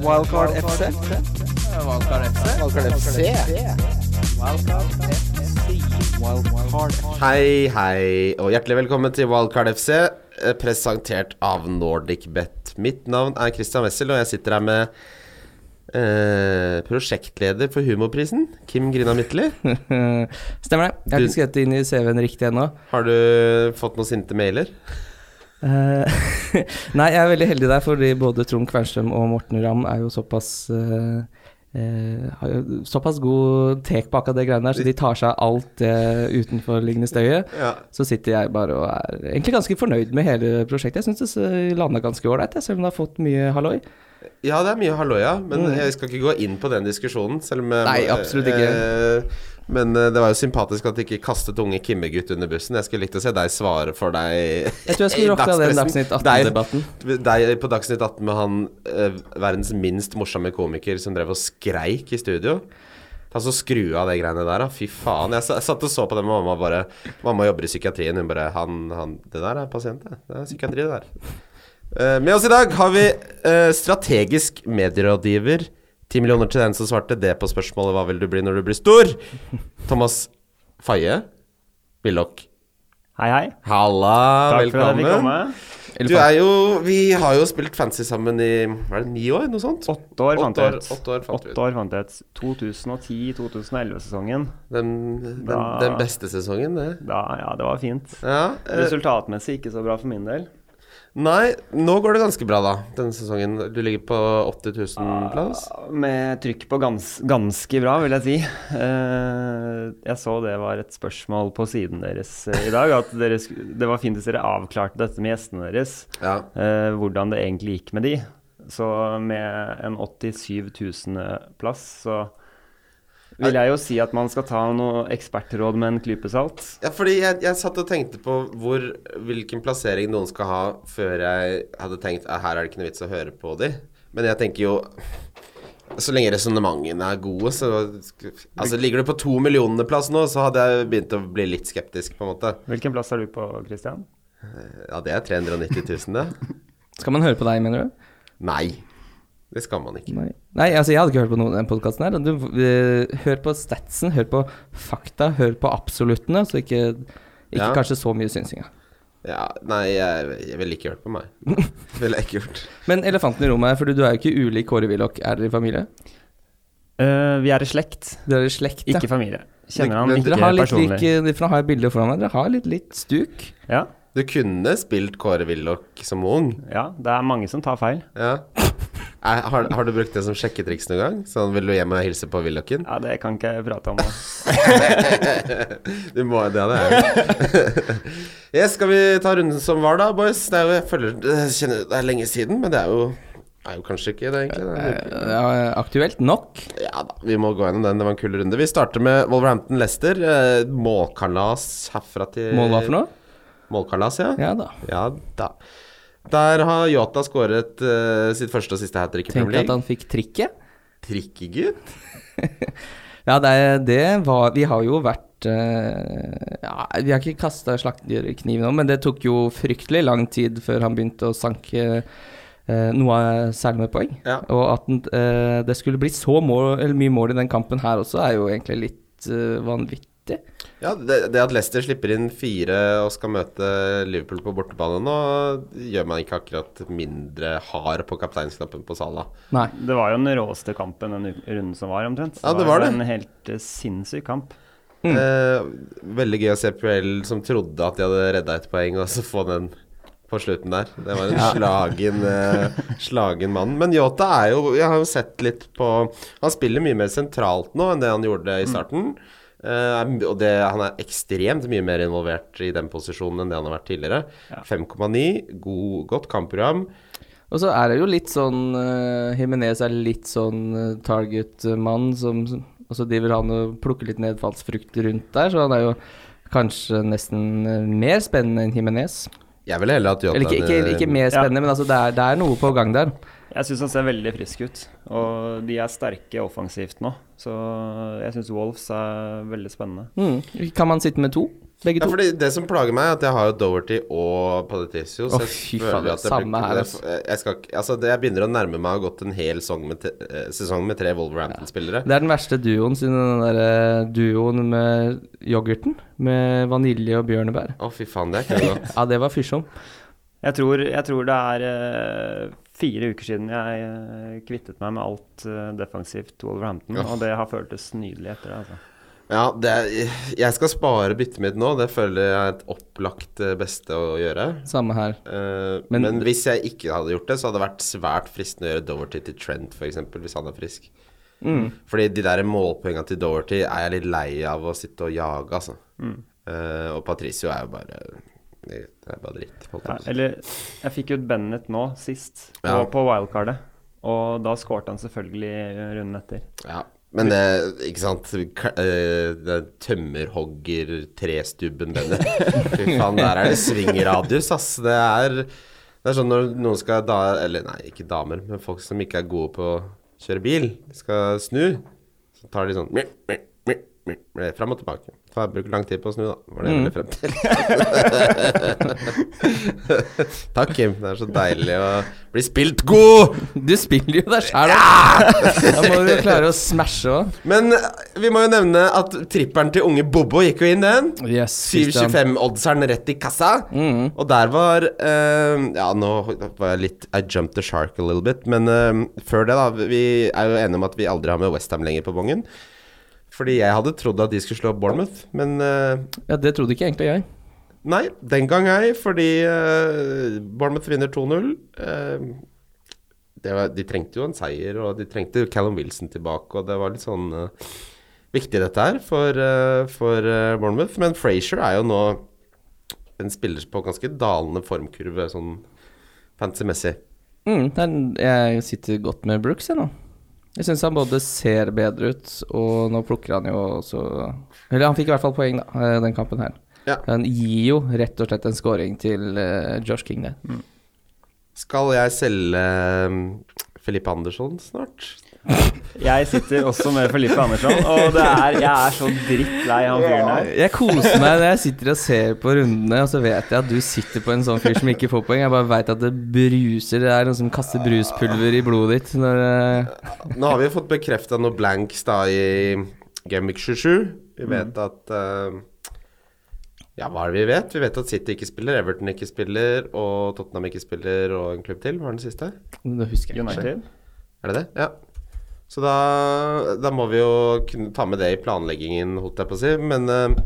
Wildcard FC. Wildcard FC. Wildcard FC. Wildcard FC. Hei, hei, og hjertelig velkommen til Wildcard FC, eh, presentert av NordicBet. Mitt navn er Christian Wessel, og jeg sitter her med eh, prosjektleder for Humorprisen, Kim Grina Midtly. Stemmer det. Jeg har Du- ikke skrevet det inn i CV-en riktig ennå. Har du fått noen sinte mailer? Eh, Nei, jeg er veldig heldig der, fordi både Trond Kvernstrøm og Morten Ramm er jo såpass eh, eh, har jo såpass god tek bak av det greiene der, så de tar seg av alt det utenforliggende støyet. Ja. Så sitter jeg bare og er egentlig ganske fornøyd med hele prosjektet. Jeg syns det landa ganske ålreit, jeg, selv om det har fått mye halloi. Ja, det er mye halloja, men jeg skal ikke gå inn på den diskusjonen. Selv om, eh, Mm. Nei, absolutt ikke. eh, men eh, det var jo sympatisk at de ikke kastet unge Kimmegutt under bussen. Jeg skulle likt å se deg svare for deg Jeg tror jeg i skulle rocka den dagspressen. Dagsnytt 18-debatten. Deg, deg på Dagsnytt 18 med han eh, verdens minst morsomme komiker som drev og skreik i studio. Ta så Skru av de greiene der, da. Fy faen. Jeg sa- jeg satt og så på det med mamma bare Mamma jobber i psykiatrien. Hun bare han, han, Det der er pasient, det. Det er psykiatri, det der. Eh, Med oss i dag har vi eh, strategisk medierådgiver. Ti millioner til den som svarte det på spørsmålet 'Hva vil du bli når du blir stor?' Thomas Faye Willoch. Hei, hei. Halla, Takk for at jeg fikk komme. velkommen. Du er jo Vi har jo spilt fancy sammen i Hva er det, ni år? Noe sånt? Åtte år fant jeg ut. Åtte år fant vi ut. Åtte år fant jeg ut. 2010-2011-sesongen. Den, den, Da- den beste sesongen, det. Da, ja, det var fint. Ja. eh, Resultatmessig ikke så bra for min del. Nei, nå går det ganske bra, da. Denne sesongen. Du ligger på 80 000 plass. Med trykk på gans, ganske bra, vil jeg si. Eh, jeg så det var et spørsmål på siden deres eh, i dag. At dere, sk- det var fint hvis dere avklarte dette med gjestene deres. Ja. eh, hvordan det egentlig gikk med de. Så med en 87 000.-plass, så vil jeg jo si at man skal ta noe ekspertråd med en klype salt. Ja, fordi jeg, jeg satt og tenkte på hvor, hvilken plassering noen skal ha før jeg hadde tenkt at her er det ikke noe vits å høre på de. Men jeg tenker jo Så lenge resonnementene er gode, så Altså, ligger du på to millioner-plass nå, så hadde jeg begynt å bli litt skeptisk, på en måte. Hvilken plass er du på, Christian? Ja, det er 390 000, det. Skal man høre på deg, mener du? Nei. Det skal man ikke. Nei. Nei, altså jeg hadde ikke hørt på noen av den podkasten her. Du, eh, hør på statsen, hør på fakta, hør på absoluttene, så ikke, ikke Ja. kanskje så mye synsing. ja. Ja, nei, jeg, jeg ville ikke hørt på meg. Det ville jeg ikke gjort. Men elefanten i rommet, for du er jo ikke ulik Kåre Willoch. Er dere i familie? vi er i slekt, Dere er i slekt, ja. ikke familie. Kjenner han Men ikke dere har litt personlig. lik, eh, for nå har jeg bildet foran meg, dere har litt litt stuk. Ja, Du kunne spilt Kåre Willoch som ung. ja, det er mange som tar feil. Ja. Er, har, har du brukt det som sjekketriks noen gang? Sånn, vil du hjem og hilse på Willochen? Ja, Det kan ikke jeg prate om nå. Du må det, det er yes, Skal vi ta runden som var, da, boys? Det er jo, jeg føler, jeg kjenner det er lenge siden, men det er jo, er jo kanskje ikke det, egentlig. Det Eh. er, Ja, eh, aktuelt nok. ja da, vi må gå gjennom den. Det var en kul runde. Vi starter med Wolverhampton-Lester. Eh, målkalas herfra til Målet var for noe? Målkalas, Eh. ja. Ja da. Ja da. Der har Yota skåret eh, sitt første og siste hat trick i Tenk Premier at League. han fikk trikket. Trikkegutt? Ja, det, det var Vi har jo vært eh, ja, Vi har ikke kasta slakterkniv nå, men det tok jo fryktelig lang tid før han begynte å sanke eh, noe særlig med poeng. Ja. Og at den, eh, det skulle bli så mål, eller mye mål i den kampen her også, er jo egentlig litt eh, vanvittig. Ja, det, det at Leicester slipper inn fire og skal møte Liverpool på bortebane nå, gjør man ikke akkurat mindre hard på kapteinsknappen på Salah. Nei. Det var jo den råeste kampen den u- runden som var, omtrent. Ja, det var jo det. En helt eh, sinnssyk kamp. Eh, veldig gøy å se PL som trodde at de hadde redda et poeng, og så få den på slutten der. Det var en slagen, eh, slagen mann. Men Yota er jo Jeg har jo sett litt på Han spiller mye mer sentralt nå enn det han gjorde i starten. Eh, og det, han er ekstremt mye mer involvert i den posisjonen enn det han har vært tidligere. 5,9, god, godt kampprogram. Og så er det jo litt sånn eh, Jimenez er litt sånn eh, target-mann som Og så driver han og plukker litt nedfallsfrukt rundt der, så han er jo kanskje nesten eh, mer spennende enn Jimenez. Jeg ville heller hatt Jota Eller ikke, ikke, ikke mer spennende, men altså det er, det er noe på gang der. Jeg syns han ser veldig frisk ut, og de er sterke offensivt nå. Så jeg syns Wolves er veldig spennende. Mm. Kan man sitte med to? Begge Ja, to? fordi Det som plager meg, er at jeg har jo Doherty og Padetisio. Å, fy faen, samme her, altså. jeg, skal, ikke- altså, det, jeg begynner å nærme meg å ha gått en hel sesong med, te, eh, sesong med tre Wolverhampton-spillere. Det er den verste duoen siden den derre duoen med yoghurten. Med vanilje og bjørnebær. Å, fy faen, det er ikke noe godt. Ja, det var fyrsom. Jeg tror, jeg tror det er eh, fire uker siden jeg eh, kvittet meg med alt eh, defensivt Wolverhampton, Ja. og det har føltes nydelig etter det. altså. Ja, det er, jeg skal spare byttet mitt nå. Det føler jeg er et opplagt eh, beste å gjøre. Samme her. Eh, Men- men, hvis jeg ikke hadde gjort det, så hadde det vært svært fristende å gjøre Doverty til Trent, f.eks., hvis han er frisk. Fordi de der målpoengene til Doverty er jeg litt lei av å sitte og jage, altså. Eh, og Patricio er jo bare Det er bare dritt. Holdt Ja, jeg på å si. eller jeg fikk ut Bennett nå sist, på, Ja. på wildcardet. Og da skårte han selvfølgelig eh, runden etter. ja. Men det, ikke sant K eh, Det tømmerhogger-trestubben Bennett. Fy faen, der er det svingradius, ass. Det er, det er sånn når noen skal da Eller nei, ikke damer, men folk som ikke er gode på å kjøre bil, skal snu, så tar de sånn meh, meh, meh, meh, meh, Fram og tilbake. Faen, jeg bruker lang tid på å snu, da. Var det jeg ville frem til. Takk, Kim. Det er så deilig å bli spilt god! Du spiller jo deg sjæl, da må du klare å smashe òg. Men eh, vi må jo nevne at tripperen til unge Bobo gikk jo inn, den. Yes, 7,25-oddseren rett i kassa. Mm. Og der var eh, Ja, nå var jeg litt I jumped the shark a little bit. Men eh, før det, da. Vi er jo enige om at vi aldri har med Westham lenger på bongen. Fordi jeg hadde trodd at de skulle slå Bournemouth, men eh, Ja, det trodde ikke egentlig jeg. Nei, den gang ei, fordi eh, Bournemouth vinner 2-0. Eh, det var- de trengte jo en seier, og de trengte Callum Wilson tilbake, og det var litt sånn eh, viktig dette her for, eh, for eh, Bournemouth. Men Frazier er jo nå en spiller på ganske dalende formkurve, sånn fancy-messig. Mm, det er- jeg sitter godt med Brooks, jeg nå. Jeg syns han både ser bedre ut, og nå plukker han jo også Eller han fikk i hvert fall poeng, da, eh, den kampen her. Ja. Han gir jo rett og slett en scoring til eh, Josh King der. Skal jeg selge eh, Filippe Andersson snart? Jeg sitter også med Felipe Andersson, og det er, jeg er så drittlei han fyren her. Jeg koser meg når jeg sitter og ser på rundene, og så vet jeg at du sitter på en sånn fyr som ikke får poeng. Jeg bare veit at det bruser. Det er noen som kaster bruspulver i blodet ditt når eh, Nå har vi fått bekrefta noe blanks da i Gameweek 27. Vi vet at eh, Ja, hva er det vi vet? Vi vet at City ikke spiller, Everton ikke spiller, og Tottenham ikke spiller, og en klubb til. Hva er den siste? Nå husker jeg ikke. United. Er det det? Ja. Så da, da må vi jo kunne ta med det i planleggingen, holdt jeg på å si. Men eh,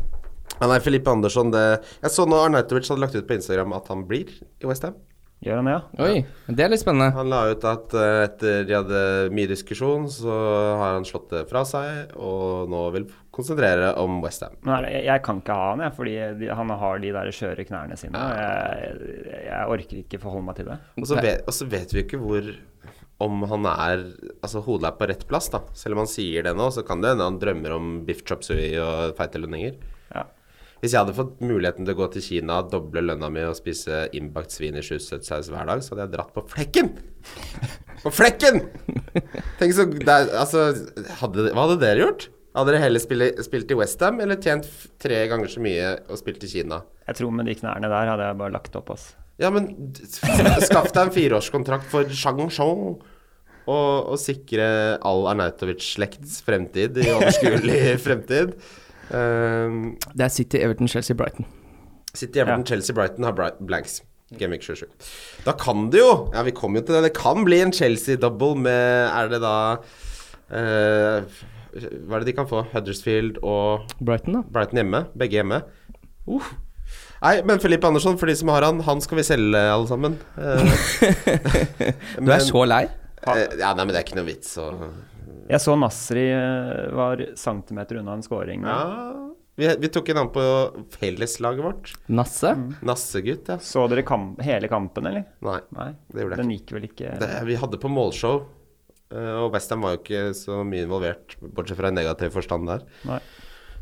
ja, nei, Filippe Andersson det, Jeg så nå Arnautovic hadde lagt ut på Instagram at han blir i Westham. Gjør han det, ja? Oi, det er litt spennende. Han la ut at eh, etter de hadde mye diskusjon, så har han slått det fra seg, og nå vil konsentrere om Westham. Men er det- jeg, jeg kan ikke ha han, jeg, fordi de, han har de der skjøre knærne sine. Ah, og Jeg, jeg orker ikke forholde meg til det. Og så vet, og så vet vi jo ikke hvor om han er Altså hodet er på rett plass, da. Selv om han sier det nå, så kan det hende han drømmer om biff chop sui og feite lønninger. Ja. Hvis jeg hadde fått muligheten til å gå til Kina, doble lønna mi og spise innbakt svin i sjusøtsaus hver dag, så hadde jeg dratt på flekken! På flekken! Tenk så det er- Altså, hadde, hva hadde dere gjort? Hadde dere heller spille, spilt i Westham eller tjent f- tre ganger så mye og spilt i Kina? Jeg tror med de knærne der hadde jeg bare lagt opp, ass. Ja, men d- skaff deg en fireårskontrakt for Shang-Shong. Og, og sikre all Arnautovic-slekts fremtid i overskuelig fremtid. Um, Det er City, Everton, Chelsea, Brighton. City, Everton, Chelsea, Brighton har Bright blanks. Game Week 27. Da kan det jo Ja, vi kom jo til det. Det kan bli en Chelsea-double med Er det da eh, Hva er det de kan få? Huddersfield og Brighton, da. Brighton hjemme. Begge hjemme. Uh. Nei, men Filippe Andersson, for de som har han, han skal vi selge, alle sammen. Eh, Du er så lei? eh, Ja, nei, men det er ikke noe vits å Jeg så Nasri eh, var centimeter unna en scoring. ja. vi, vi tok en annen på felleslaget vårt. Nasse? Nassegutt, ja. Så dere kamp, hele kampen, eller? Nei, Nei, det gjorde jeg ikke. den gikk vel ikke Det, vi hadde på målshow, eh, og Westham var jo ikke så mye involvert, bortsett fra i negativ forstand der. Nei.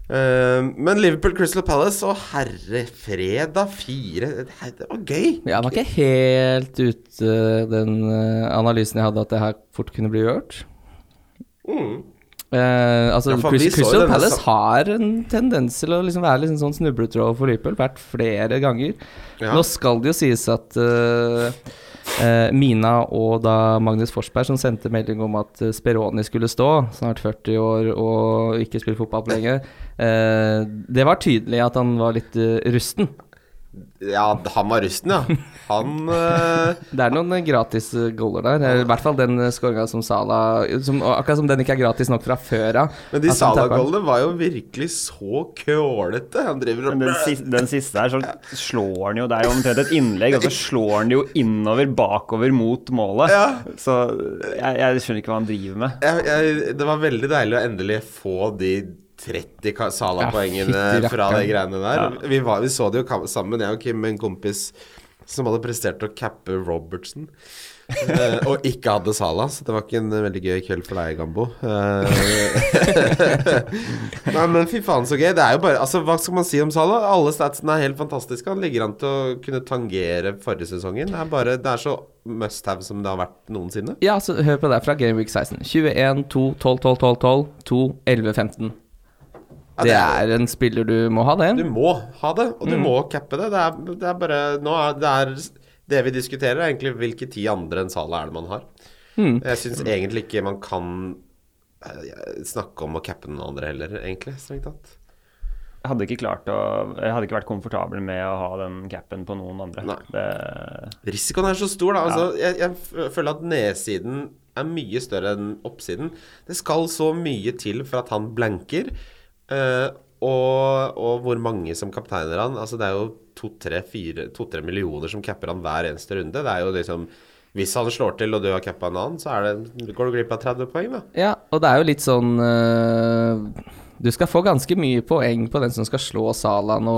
Eh, men Liverpool Crystal Palace, å herre fred, da. Fire det- Det var gøy. Jeg var ikke helt ute den eh, analysen jeg hadde, at det her fort kunne bli gjort. Mm. Eh, altså, Ja, for Crys- vi så jo Crystal denne Palace sam- har en tendens til å liksom være liksom sånn snubletråd for Liverpool, vært flere ganger. Ja. Nå skal det jo sies at eh, eh, Mina og da Magnus Forsberg, som sendte melding om at eh, Speroni skulle stå, snart 40 år og ikke spille fotball på lenge, eh, det var tydelig at han var litt eh, rusten. Ja, han var rusten, ja. Han eh, Det er noen eh, gratis eh, goaler der. eh, I hvert fall den eh, skåringa som Sala som, og Akkurat som den ikke er gratis nok fra før av. Men de at han tapper den. Salah-goldene var jo virkelig så kålete. Han driver Men den og siste, den siste her, så slår han jo Det er jo omtrent et innlegg, og så slår han det jo innover, bakover mot målet. Ja. Så jeg, jeg skjønner ikke hva han driver med. jeg, jeg, Det var veldig deilig å endelig få de 30 ka- Ja, Salah-poengene fytti fra de rakkeren. greiene der. Vi, var, vi så det jo kam- sammen, jeg og Kim, en kompis som hadde prestert å cappe Robertson. eh, og ikke hadde Salah, så det var ikke en eh, veldig gøy kveld for deg, Gambo. Eh, Nei, men fy faen så gøy. Det er jo bare Altså, hva skal man si om Salah? Alle statsene er helt fantastiske. Han ligger an til å kunne tangere forrige sesongen. Det er bare Det er så must have som det har vært noensinne. Ja, så hør på det her fra Game Week 16. 21, 2, 12, 12, 12, 12, 2, 11, 15. Ja, Det er en spiller du må ha, Du det. må ha det, og du må cappe det. Det er, det er bare Nå er det er Det vi diskuterer, er egentlig hvilke ti andre enn Salah er det man har. Jeg syns egentlig ikke man kan eh, snakke om å cappe noen andre heller, egentlig, strengt tatt. Jeg hadde ikke klart å Jeg hadde ikke vært komfortabel med å ha den capen på noen andre. Nei. Det, Risikoen er så stor, da. Altså, jeg, jeg f- føler at nedsiden er mye større enn oppsiden. Det skal så mye til for at han blanker. eh, og, og hvor mange som kapteiner han. Altså, det er jo to-tre to, millioner som capper han hver eneste runde. Det er jo liksom Hvis han slår til, og du har cappa en annen, så er det, går du glipp av 30 poeng, da. Ja, og det er jo litt sånn eh, Du skal få ganske mye poeng på den som skal slå Sala nå,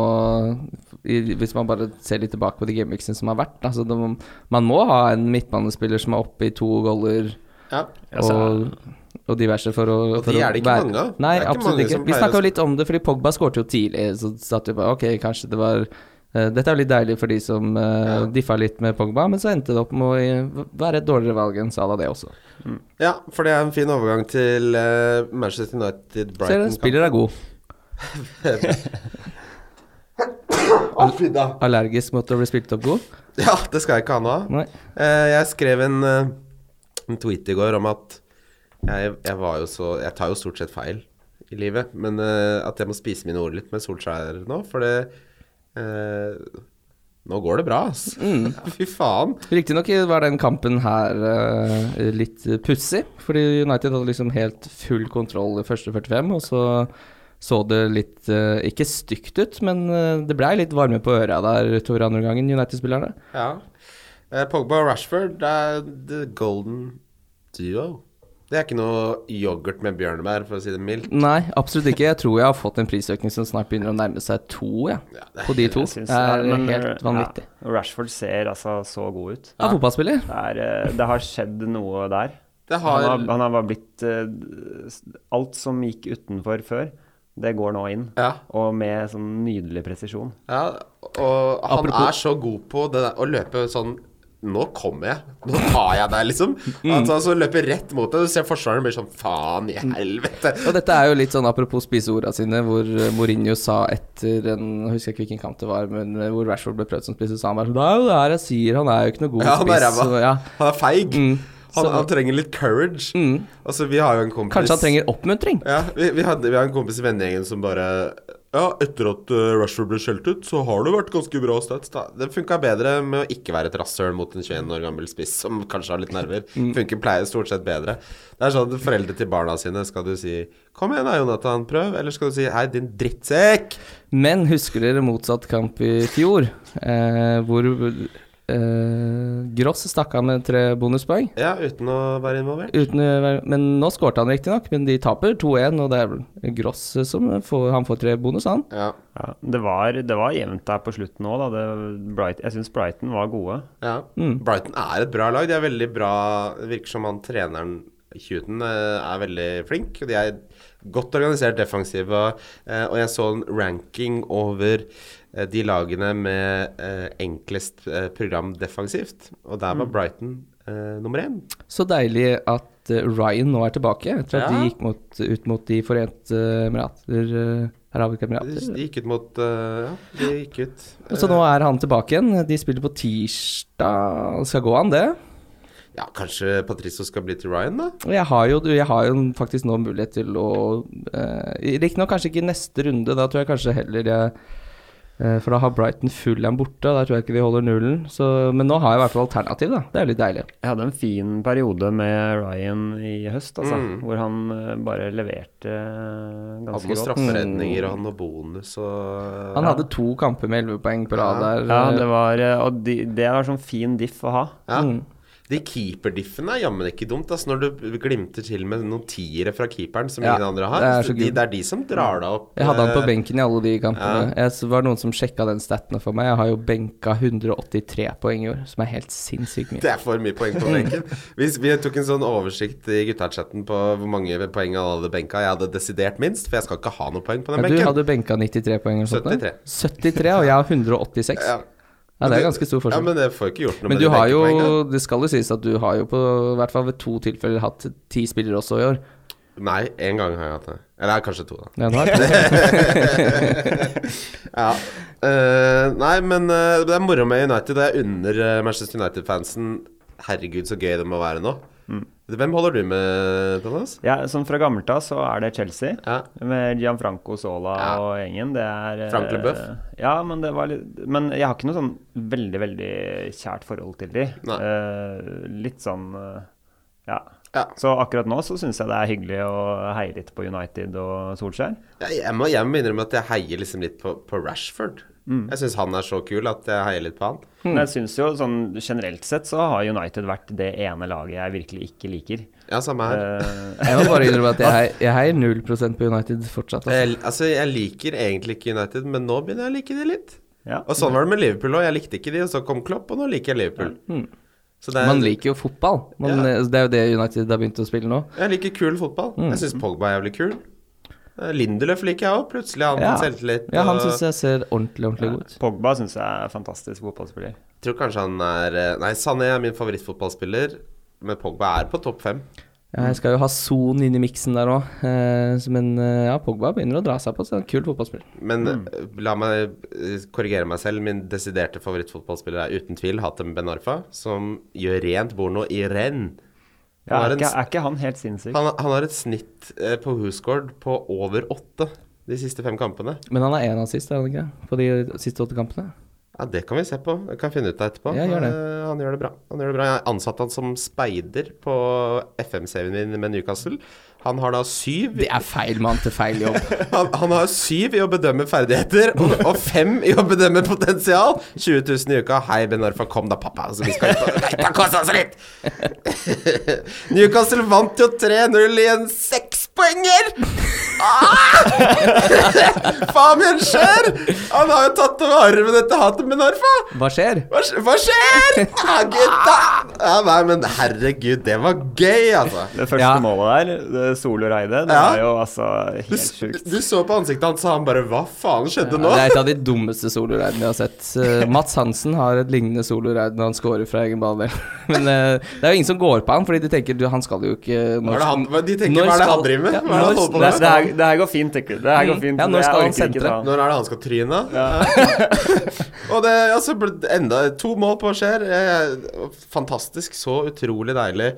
i, hvis man bare ser litt tilbake på de gameweeksene som har vært. Altså, det, må- man må ha en midtbanespiller som er oppe i to goaler. Ja. Altså- og, og diverse for å Og de for å er det ikke være- mange av. Nei, Det er ikke absolutt mange ikke. som Vi pleier snakka å- jo litt om det, fordi Pogba skårte jo tidlig. Så satt vi bare ok, kanskje det var eh, Dette er jo litt deilig for de som eh, Ja. diffa litt med Pogba, men så endte det opp med å eh, være et dårligere valg enn Salah, det også. ja, for det er en fin overgang til eh, Manchester United Så Brighton. spiller er god. Allergisk mot å bli spilt opp god. Ja, det skal jeg ikke ha noe av. Nei. Eh, jeg skrev en, eh, en tweet i går om at jeg, jeg var jo så Jeg tar jo stort sett feil i livet, men eh, at jeg må spise mine ord litt med Solskjær nå, for det eh, Nå går det bra, ass. Fy faen. Riktignok var den kampen her eh, litt eh, pussig, fordi United hadde liksom helt full kontroll i første 45, og så så det litt eh, ikke stygt ut, men eh, det blei litt varme på øra der utover andre gangen, United-spillerne. Ja. Eh, Pogba og Rashford, det er the golden duo. Det er ikke noe yoghurt med bjørnebær, for å si det mildt. Nei, absolutt ikke. Jeg tror jeg har fått en prisøkning som snart begynner å nærme seg to, jeg. Ja, det er På de to. Jeg Det synes- er ja, men, helt vanvittig. ja, Rashford ser altså så god ut. Ja, fotballspiller. Det, er, eh, det har skjedd noe der. Det Han har har, han har bare blitt eh, s- Alt som gikk utenfor før, det går nå inn. Ja. Og med sånn nydelig presisjon. Ja, og han Apropos- er så god på det der, å løpe sånn Nå kommer jeg. Nå tar jeg deg, liksom. Mm. At han så løper rett mot deg. Du ser forsvareren blir sånn Faen i helvete. Og dette er jo litt sånn apropos spiseorda sine, hvor eh, Mourinho sa etter en Jeg husker ikke hvilken kamp det var, men eh, hvor Rashford ble prøvd som spiss, og sa han bare sånn Det er jo det her jeg sier, han er jo ikke noe god Ja, han er spiss. ræva. så, ja. Han er feig. Mm. Han, Så- Mm. han trenger litt courage. Altså, vi har jo en kompis Kanskje han trenger oppmuntring? Ja, vi, vi, hadde, vi har en kompis i vennegjengen som bare Ja, etter at eh, Rashford ble skjelt ut, så har det vært ganske bra stats. Da. Det funka bedre med å ikke være et rasshøl mot en 21 år gammel spiss som kanskje har litt nerver. Funker pleier stort sett bedre. Det er sånn at foreldre til barna sine skal du si 'Kom igjen da, Jonathan, prøv', eller skal du si 'Hei, din drittsekk'. Men husker dere motsatt kamp i fjor, eh, hvor eh, Gross stakk av med tre bonuspoeng? Ja, uten å være involvert. Uten, å være- men nå skårte han riktignok, men de taper 2-1, og det er Gross som får, han får tre bonus, han. Ja, Ja, det, var, det var jevnt der på slutten òg, da. Det, Bright, jeg syns Brighton var gode. Mm. ja. Brighton er et bra lag. De er veldig bra Det Virker som han treneren Huten eh, er veldig flink, og de er godt organisert defensive. Og, eh, og jeg så en ranking over eh, de lagene med eh, enklest eh, program defensivt, og der Mm. var Brighton eh, nummer én. Så deilig at eh, Ryan nå er tilbake, etter at Ja. de gikk mot, ut mot De forente eh, emirater. eh, De, Arabiske emirater. de gikk ut mot eh, Ja, de gikk ut. eh, Og Så nå er han tilbake igjen. De spiller på tirsdag. Skal gå an, det? Ja, kanskje Patricio skal bli til Ryan, da? Og Jeg har jo, jeg har jo faktisk nå mulighet til å eh, Riktignok kanskje ikke i neste runde, da tror jeg kanskje heller jeg eh, For da har Brighton Fulham borte, og da tror jeg ikke de holder nullen. Så, men nå har jeg i hvert fall alternativ, da. Det er jo litt deilig. Jeg hadde en fin periode med Ryan i høst, altså, Mm. hvor han eh, bare leverte eh, Han ganske må godt. strafferedninger, og han og bonus og Mm. Han hadde to kamper med 11 poeng på rad der. Ja, det var, eh, og de, det var sånn fin diff å ha. Ja. Mm. De keeperdiffene er jammen ikke dumt. Altså, når du glimter til med noen tiere fra keeperen som Ja, ingen andre har. det er så så de, gøy. det er de som drar deg opp. Jeg hadde han på eh, benken i alle de kampene. Jeg s- var noen som sjekka den staten for meg. Jeg har jo benka 183 poeng i år, som er helt sinnssykt mye. Det er for mye poeng på benken. Mm. Vi, vi tok en sånn oversikt i gutta-chatten på hvor mange poeng han hadde benka. Jeg hadde desidert minst, for jeg skal ikke ha noe poeng på den Ja, du benken. hadde benka 93 poeng eller noe sånt? da? 73, og jeg har 186. Ja. Ja, det Men er ganske stor Ja, forskjell. men det får ikke gjort noe Men med du de har jo, benkepoengene. det skal jo sies at du har jo på i hvert fall ved to tilfeller hatt ti spillere også i år. Nei, én gang har jeg hatt det. Eller kanskje to, da. Ja, nå har jeg- Ja. Eh, nei, men eh, det er moro med United. Det er under eh, Manchester United-fansen. Herregud, så gøy det må være nå. Hvem holder du med, Thomas? Ja, sånn fra gammelt av så er det Chelsea. Ja. Med Gianfranco Sola Ja. og gjengen. Det er eh, Frank Leboeuf. Ja, men det var litt Men jeg har ikke noe sånn veldig, veldig kjært forhold til de. Nei. Eh, litt sånn eh, ja. Ja. Så akkurat nå så syns jeg det er hyggelig å heie litt på United og Solskjær. Jeg, jeg, må, jeg må innrømme at jeg heier liksom litt på, på Rashford. Jeg syns han er så kul at jeg heier litt på han. Hmm. Men jeg synes jo sånn generelt sett så har United vært det ene laget jeg virkelig ikke liker. Ja, samme her. Eh, jeg må bare innrømme at jeg, hei- jeg heier 0 på United fortsatt. Altså. Jeg, altså, jeg liker egentlig ikke United, men nå begynner jeg å like de litt. ja. Og sånn var det med Liverpool òg. Jeg likte ikke de, og så kom Klopp, og nå liker jeg Liverpool. Så det er, Man liker jo fotball. Man, eh, Ja. Det er jo det United har begynt å spille nå. Jeg liker kul fotball. Mm. Jeg syns Pogba er jævlig kul. Eh, Lindeløf liker jeg òg. Plutselig har han Ja. fått selvtillit. Ja, han og- syns jeg ser ordentlig, ordentlig god ut. Pogba syns jeg er fantastisk fotballspiller. Tror kanskje han er eh, Nei, Sané er min favorittfotballspiller, men Pogba er på topp fem. Ja, jeg skal jo ha Son inn i miksen der òg, eh, men eh, ja, Pogba begynner å dra seg på. Så er han kul fotballspiller. Men Mm. eh, la meg eh, korrigere meg selv. Min desiderte favorittfotballspiller er uten tvil Hatem Ben Arfa, som gjør rent bord nå i renn. Han, Ja, har er, en ikke, s- er ikke han helt sinnssyk? han, han har et snitt eh, på Hooscord på over åtte de siste fem kampene. Men han er én assist, er han ikke? det, På de siste åtte kampene. Ja, Det kan vi se på. Jeg kan finne ut av etterpå. Ja, gjør det. Eh, han gjør det bra. Han gjør det bra. Jeg ansatte han som speider på FM-serien min med Newcastle. Han har da syv Det er feil mann til feil jobb. Han, han har syv i å bedømme ferdigheter, og, og fem i å bedømme potensial. 20 000 i uka. Hei, Ben Arfa, kom da, pappa. Så vi skal ut og Nei, ta kosa oss litt! Newcastle vant jo 3-0 i en sekspoenger! Ah! Fabian Schjær! Han har jo tatt over arven etter hatet med Narfa. Hva skjer? Hva, sk- hva skjer? Ah, gutta! Ja, nei, men herregud, det var gøy, altså. Det første Ja. målet der, det soloreide, det Ja. er jo altså Du, helt s- sjukt. du så på ansiktet hans, og han bare Hva faen skjedde nå? Ja, det er et av de dummeste soloreidene jeg har sett. Eh, Mats Hansen har et lignende soloreid når han scorer fra egen ballvel. Men eh, det er jo ingen som går på han, fordi de tenker du, han skal jo ikke Hva er det han, hva- de tenker, når hva er det han skal- driver med? Ja, Hva er det han når- holder på Det, med? det, her, det her går fint, Tekke. Det her går Mm. fint. Ja, når Jeg skal han orker ikke sentre? ta- Når er det han skal tryne? og det altså, ble det enda to mål på skjer. Eh, Fantastisk. Så utrolig deilig.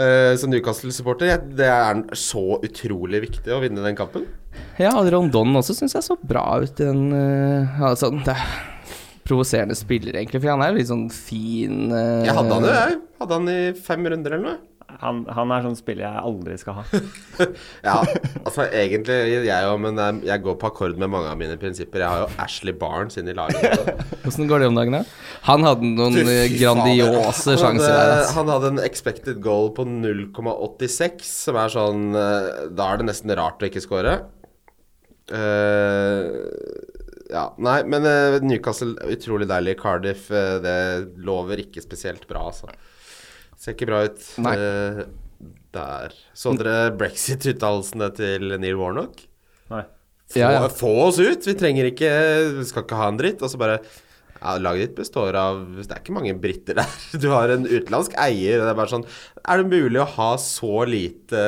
Eh, som Newcastle-supporter, jeg- det er så utrolig viktig å vinne den kampen. Ja, og Rondon også syns jeg så bra ut i den eh, altså, det er Provoserende spiller, egentlig, for han er jo litt sånn fin eh, Jeg hadde han jo, jeg. Hadde han i fem runder eller noe. Han, han er sånn spiller jeg aldri skal ha. Ja, altså egentlig jeg òg, men eh, jeg går på akkord med mange av mine prinsipper. Jeg har jo Ashley Barnes inn i laget. Hvordan går det om dagen, da? Han hadde noen Fy eh, faen. grandiose Han sjanser hadde- der, altså. Han hadde en expected goal på 0,86, som er sånn eh, Da er det nesten rart å ikke score. Eh, ja, nei, men eh, Newcastle utrolig deilig. Cardiff, eh, det lover ikke spesielt bra, altså. Ser ikke bra ut. Nei. Eh, Der. Så dere brexit-uttalelsene til Neil Warnock? Nei. Få, Ja, ja. få oss ut! Vi trenger ikke Vi skal ikke ha en dritt. Og så bare ja, Laget ditt består av Det er ikke mange briter der. Du har en utenlandsk eier. og Det er bare sånn Er det mulig å ha så lite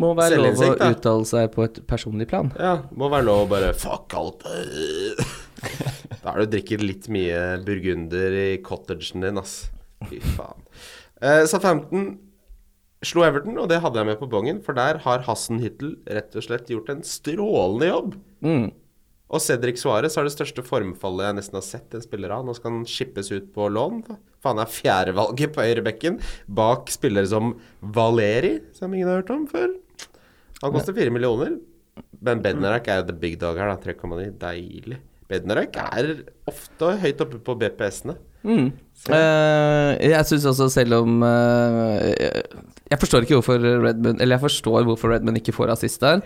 Må være lov å selvinnsikt, da? uttale seg på et personlig plan. Ja, må være lov å bare Fuck alt. Da er det å drikke litt mye burgunder i cottagen din, ass. Fy faen. Eh, Southampton slo Everton, og det hadde jeg med på bongen, for der har Hassen Hittel rett og slett gjort en strålende jobb. Mm. Og Cedric Suárez har det største formfallet jeg nesten har sett en spiller av. Nå skal han skippes ut på lån. Faen er fjerdevalget på høyrebekken bak spillere som Valeri, som ingen har hørt om før. Han koster fire millioner. Men Bednarak er jo the big dog her, da. 3,9. Deilig. Bednarak er ofte høyt oppe på BPS-ene. Mm. Eh, jeg syns også, selv om eh, jeg- Jeg forstår ikke hvorfor Redmond Eller jeg forstår hvorfor Redmond ikke får assist der.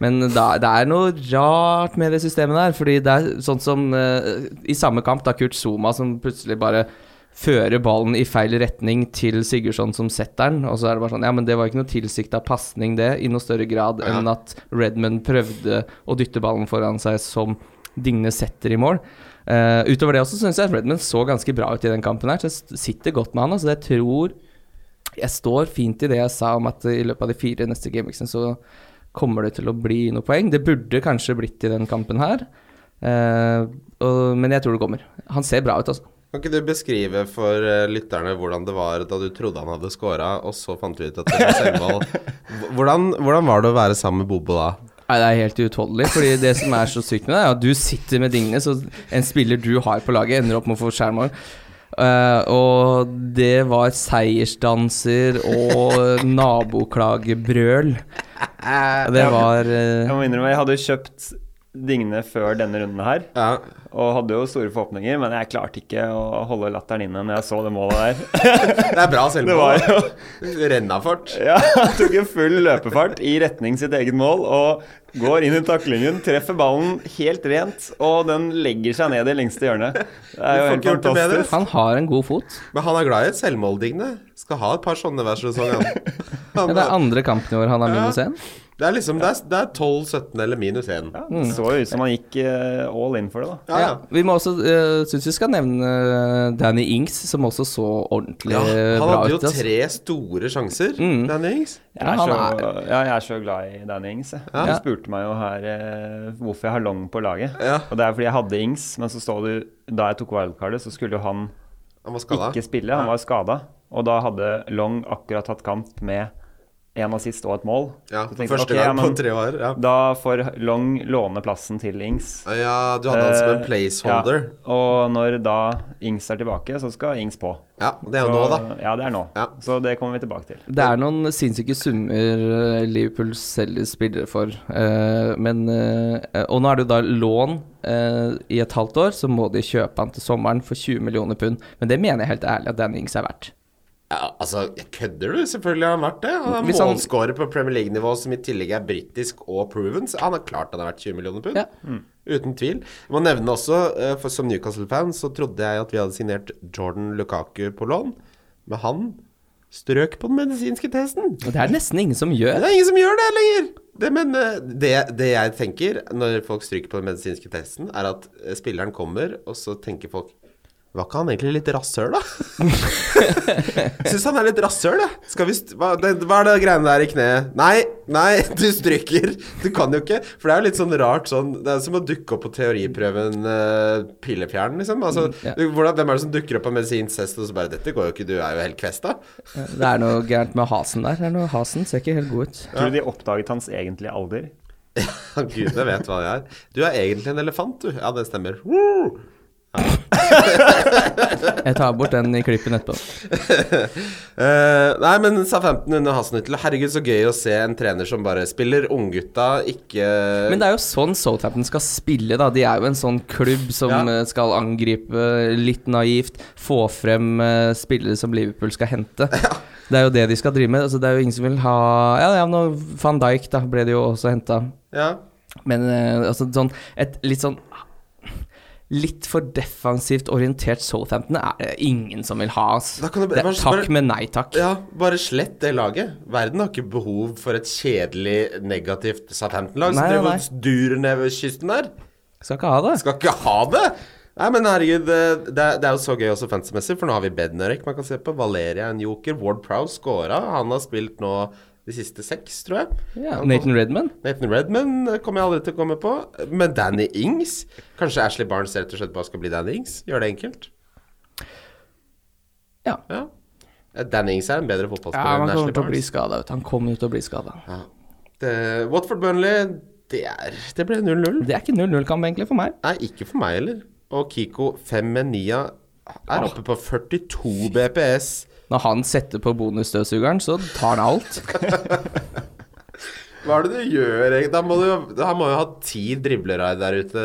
Men da, det er noe rart med det systemet der. Fordi det er sånn som eh, i samme kamp, da Kurt Zuma som plutselig bare fører ballen i feil retning til Sigurdsson som setter den. Og så er det bare sånn Ja, men det var ikke noe tilsikta pasning, det, i noe større grad enn at Redmond prøvde å dytte ballen foran seg som Digne setter i mål. Eh, utover det også syns jeg Redmond så ganske bra ut i den kampen her, så jeg st- sitter godt med han. Altså jeg tror Jeg står fint i det jeg sa om at i løpet av de fire neste gameweeksene så kommer det til å bli noen poeng. Det burde kanskje blitt i den kampen her, Eh, og, men jeg tror det kommer. Han ser bra ut, altså. Kan ikke du beskrive for eh, lytterne hvordan det var da du trodde han hadde scora, og så fant du ut at det var selvmål? Hvordan, hvordan var det å være sammen med Bobo da? Nei, Det er helt uutholdelig. Fordi det som er så sykt med det, er at du sitter med Digne, så en spiller du har på laget, ender opp med å få skjermål. Eh, og det var seiersdanser og naboklagebrøl. Det var eh, Jeg må innrømme, jeg hadde jo kjøpt Digne før denne runden her, Ja, og hadde jo store forhåpninger, men jeg klarte ikke å holde latteren inne når jeg så det målet der. Det er bra Det selvmål. var jo Renna fort. Ja, han tok en full løpefart i retning sitt eget mål og går inn i taklinjen, treffer ballen helt rent, og den legger seg ned i lengste hjørnet. Det er jo Du får helt ikke gjort det bedre. fantastisk. Han har en god fot. Men han er glad i et selvmål, Digne. Skal ha et par sånne hver sesong. Han. Ja, Han, det er andre kampen i år han har minus én. det er liksom det er, det er 12-17 eller minus 1. Ja, det så jo ut som han gikk eh, all in for det, da. Ja, ja. Vi må også uh, syns vi skal nevne eh, Danny Ings, som også så ordentlig Ja, han bra hadde jo ut. altså. tre store sjanser, Mm. Danny Ings. Ja, Jeg er, han så, ja, jeg er så glad i Danny Ings. Jeg. Ja. Du spurte meg jo her eh, hvorfor jeg har Long på laget. Ja. Og det er fordi jeg hadde Ings, men så står det da jeg tok wildcardet, så skulle jo han Han var skada. ikke spille. Han var skada. Og da hadde Long akkurat tatt kamp med én assist og et mål. Ja, Så for tenkte jeg, første ok, ja, gang på men- tre år. Ja. Da får Long låne plassen til Ings. ja, du hadde han som en Eh, placeholder. Ja. Og når da Ings er tilbake, så skal Ings på. Ja, det er jo nå, da. Ja, det er nå. Ja. Så det kommer vi tilbake til. Det er noen sinnssyke summer eh, Liverpool selger spillere for. eh, Men, eh, og nå er det jo da lån eh, i et halvt år, så må de kjøpe han til sommeren for 20 millioner pund. Men det mener jeg helt ærlig at Dan Ings er verdt. Ja, altså, jeg kødder du? Selvfølgelig har han vært det. Han er Hvis han- målscorer på Premier League-nivå som i tillegg er britisk og proven. Så han har klart han har vært 20 millioner pund. Ja. Mm. Uten tvil. Jeg må nevne også, eh, for som Newcastle-fan så trodde jeg at vi hadde signert Jordan Lukaku på lån, men han strøk på den medisinske testen. Og det er nesten ingen som Men gjør. det er ingen som gjør det lenger! Det, men eh, det, det jeg tenker når folk stryker på den medisinske testen, er at eh, spilleren kommer, og så tenker folk Var ikke han egentlig litt rasshøl, da? Syns han er litt rasshøl, jeg. Skal vi st hva, det, hva er det greiene der i kneet? Nei, nei, du stryker. Du kan jo ikke. For det er jo litt sånn rart sånn Det er som å dukke opp på teoriprøven uh, pillefjern, liksom. Altså, Mm, ja. du, hvordan, hvem er det som dukker opp på medisinsk test og så bare 'Dette går jo ikke, du er jo helt kvesta'? Det er noe gærent med Hasen der. Det er noe Hasen ser ikke helt god ut. Tror du de oppdaget hans egentlige alder? Gudene vet hva det er. Du er egentlig en elefant, du. Ja, det stemmer. Woo! Jeg tar bort den i klippen etterpå. Eh, nei, men Southampton under Hasenhyttel. Herregud, så gøy å se en trener som bare spiller unggutta, ikke Men det er jo sånn Southampton skal spille, da. De er jo en sånn klubb som Ja. eh, skal angripe eh, litt naivt, få frem eh, spillere som Liverpool skal hente. Det er jo det de skal drive med. Altså, det er jo ingen som vil ha Ja, ja nå Van Dijk da ble det jo også henta. Ja. Men eh, altså sånn Et litt sånn litt for defensivt orientert Southampton er det ingen som vil ha. ass. Da kan du- Det er bare- takk bare- med nei takk. Ja, bare slett det laget. Verden har ikke behov for et kjedelig, negativt Southampton-lag som Nei, nei, driver nei. og durer ned ved kysten der. Skal ikke ha det. Skal ikke ha det! Nei, men herregud, eh, det, det er- det er jo så gøy også fantasy-messig, for nå har vi Bednarek man kan se på. Valeria er en joker. Ward Prowse scora. Han har spilt nå de siste seks, tror jeg. Ja, Han- Nathan Redman. Nathan Redman eh, kommer jeg aldri til å komme på. Men Danny Ings? Kanskje Ashley Barnes rett og slett bare skal bli Danny Ings? Gjør det enkelt. Ja. ja. Eh, Danny Ings er en bedre fotballspiller Ja, enn han kommer Ashley til å bli Barnes. skada. Han kommer jo til å bli skada. Ja. Det, Watford Burnley, det, er, det ble 0-0. Det er ikke 0-0-kamp, egentlig, for meg. Nei, ikke for meg heller. Og Kiko 5 med 9 er oppe på 42 BPS. Når han setter på bonusstøvsugeren, så tar han alt. Hva er det du gjør, egentlig? Da må du, jo- han må jo ha ti driblerai der ute.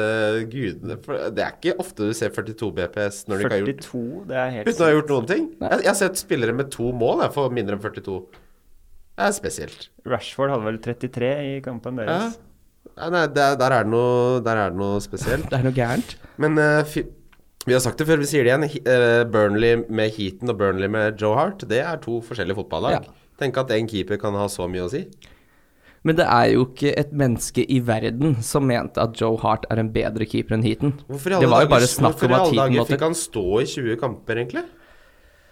Gudene for Det er ikke ofte du ser 42 BPS når du ikke har gjort 42, det er helt Uten å ha gjort noen ting. Jeg, jeg har sett spillere med to mål jeg, for mindre enn 42. Det er spesielt. Rashford hadde vel 33 i kampen Ja. deres. Nei, nei, der, der, er det noe, der er det noe spesielt. Det er noe gærent. Men eh, fy, vi har sagt det før, vi sier det igjen. He- eh, Burnley med Heaton og Burnley med Joe Hart, det er to forskjellige fotballag. Ja. Tenk at én keeper kan ha så mye å si. Men det er jo ikke et menneske i verden som mente at Joe Hart er en bedre keeper enn Heaton. Hvorfor i Det alle var jo dager- bare snakk hvorfor om i at alle Heaton dager måtte fikk han stå i 20 kamper, egentlig?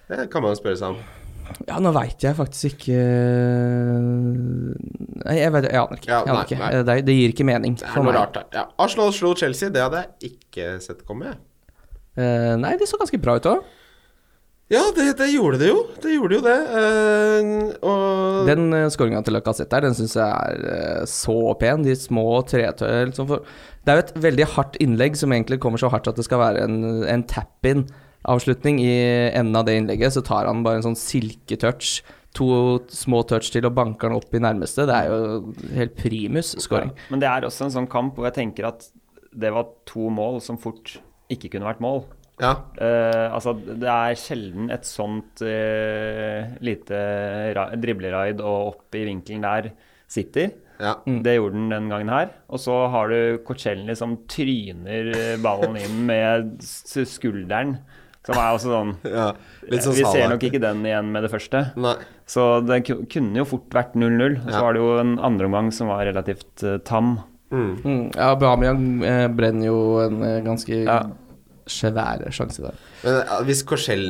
Det kan man jo spørre seg om. Ja, nå veit jeg faktisk ikke Nei, jeg, vet, jeg aner ikke. Ja, jeg aner nei, ikke. nei. Det, er- det gir ikke mening Det for er noe meg. rart her. Ja, Arsenal slo Chelsea, det hadde jeg ikke sett komme. jeg. Eh, nei, det så ganske bra ut òg. Ja, det, det gjorde det jo. Det gjorde jo det. Eh, og Den uh, skåringa til Lacassette der, den syns jeg er eh, så pen. De små tretøy liksom for- Det er jo et veldig hardt innlegg som egentlig kommer så hardt at det skal være en, en tap-in-avslutning. I enden av det innlegget så tar han bare en sånn silketouch. To små touch til og banker han opp i nærmeste. Det er jo helt primus skåring. Men det er også en sånn kamp hvor jeg tenker at det var to mål som fort ikke kunne vært mål. ja, Eh, altså, det er sjelden et sånt eh, lite ra- dribleraid og opp i vinkelen der sitter. ja. Det gjorde den den gangen her. Og så har du Kocelny som tryner eh, ballen inn med s- skulderen. Som er også sånn ja. Litt sånn Vi ser Salah. nok ikke den igjen med det første. Nei. Så det ku- kunne jo fort vært 0-0. Og så Ja. var det jo en andreomgang som var relativt eh, tam. Mm, ja, Aubameyang eh, brenner jo en eh, ganske Ja. svær sjanse der. Men eh, hvis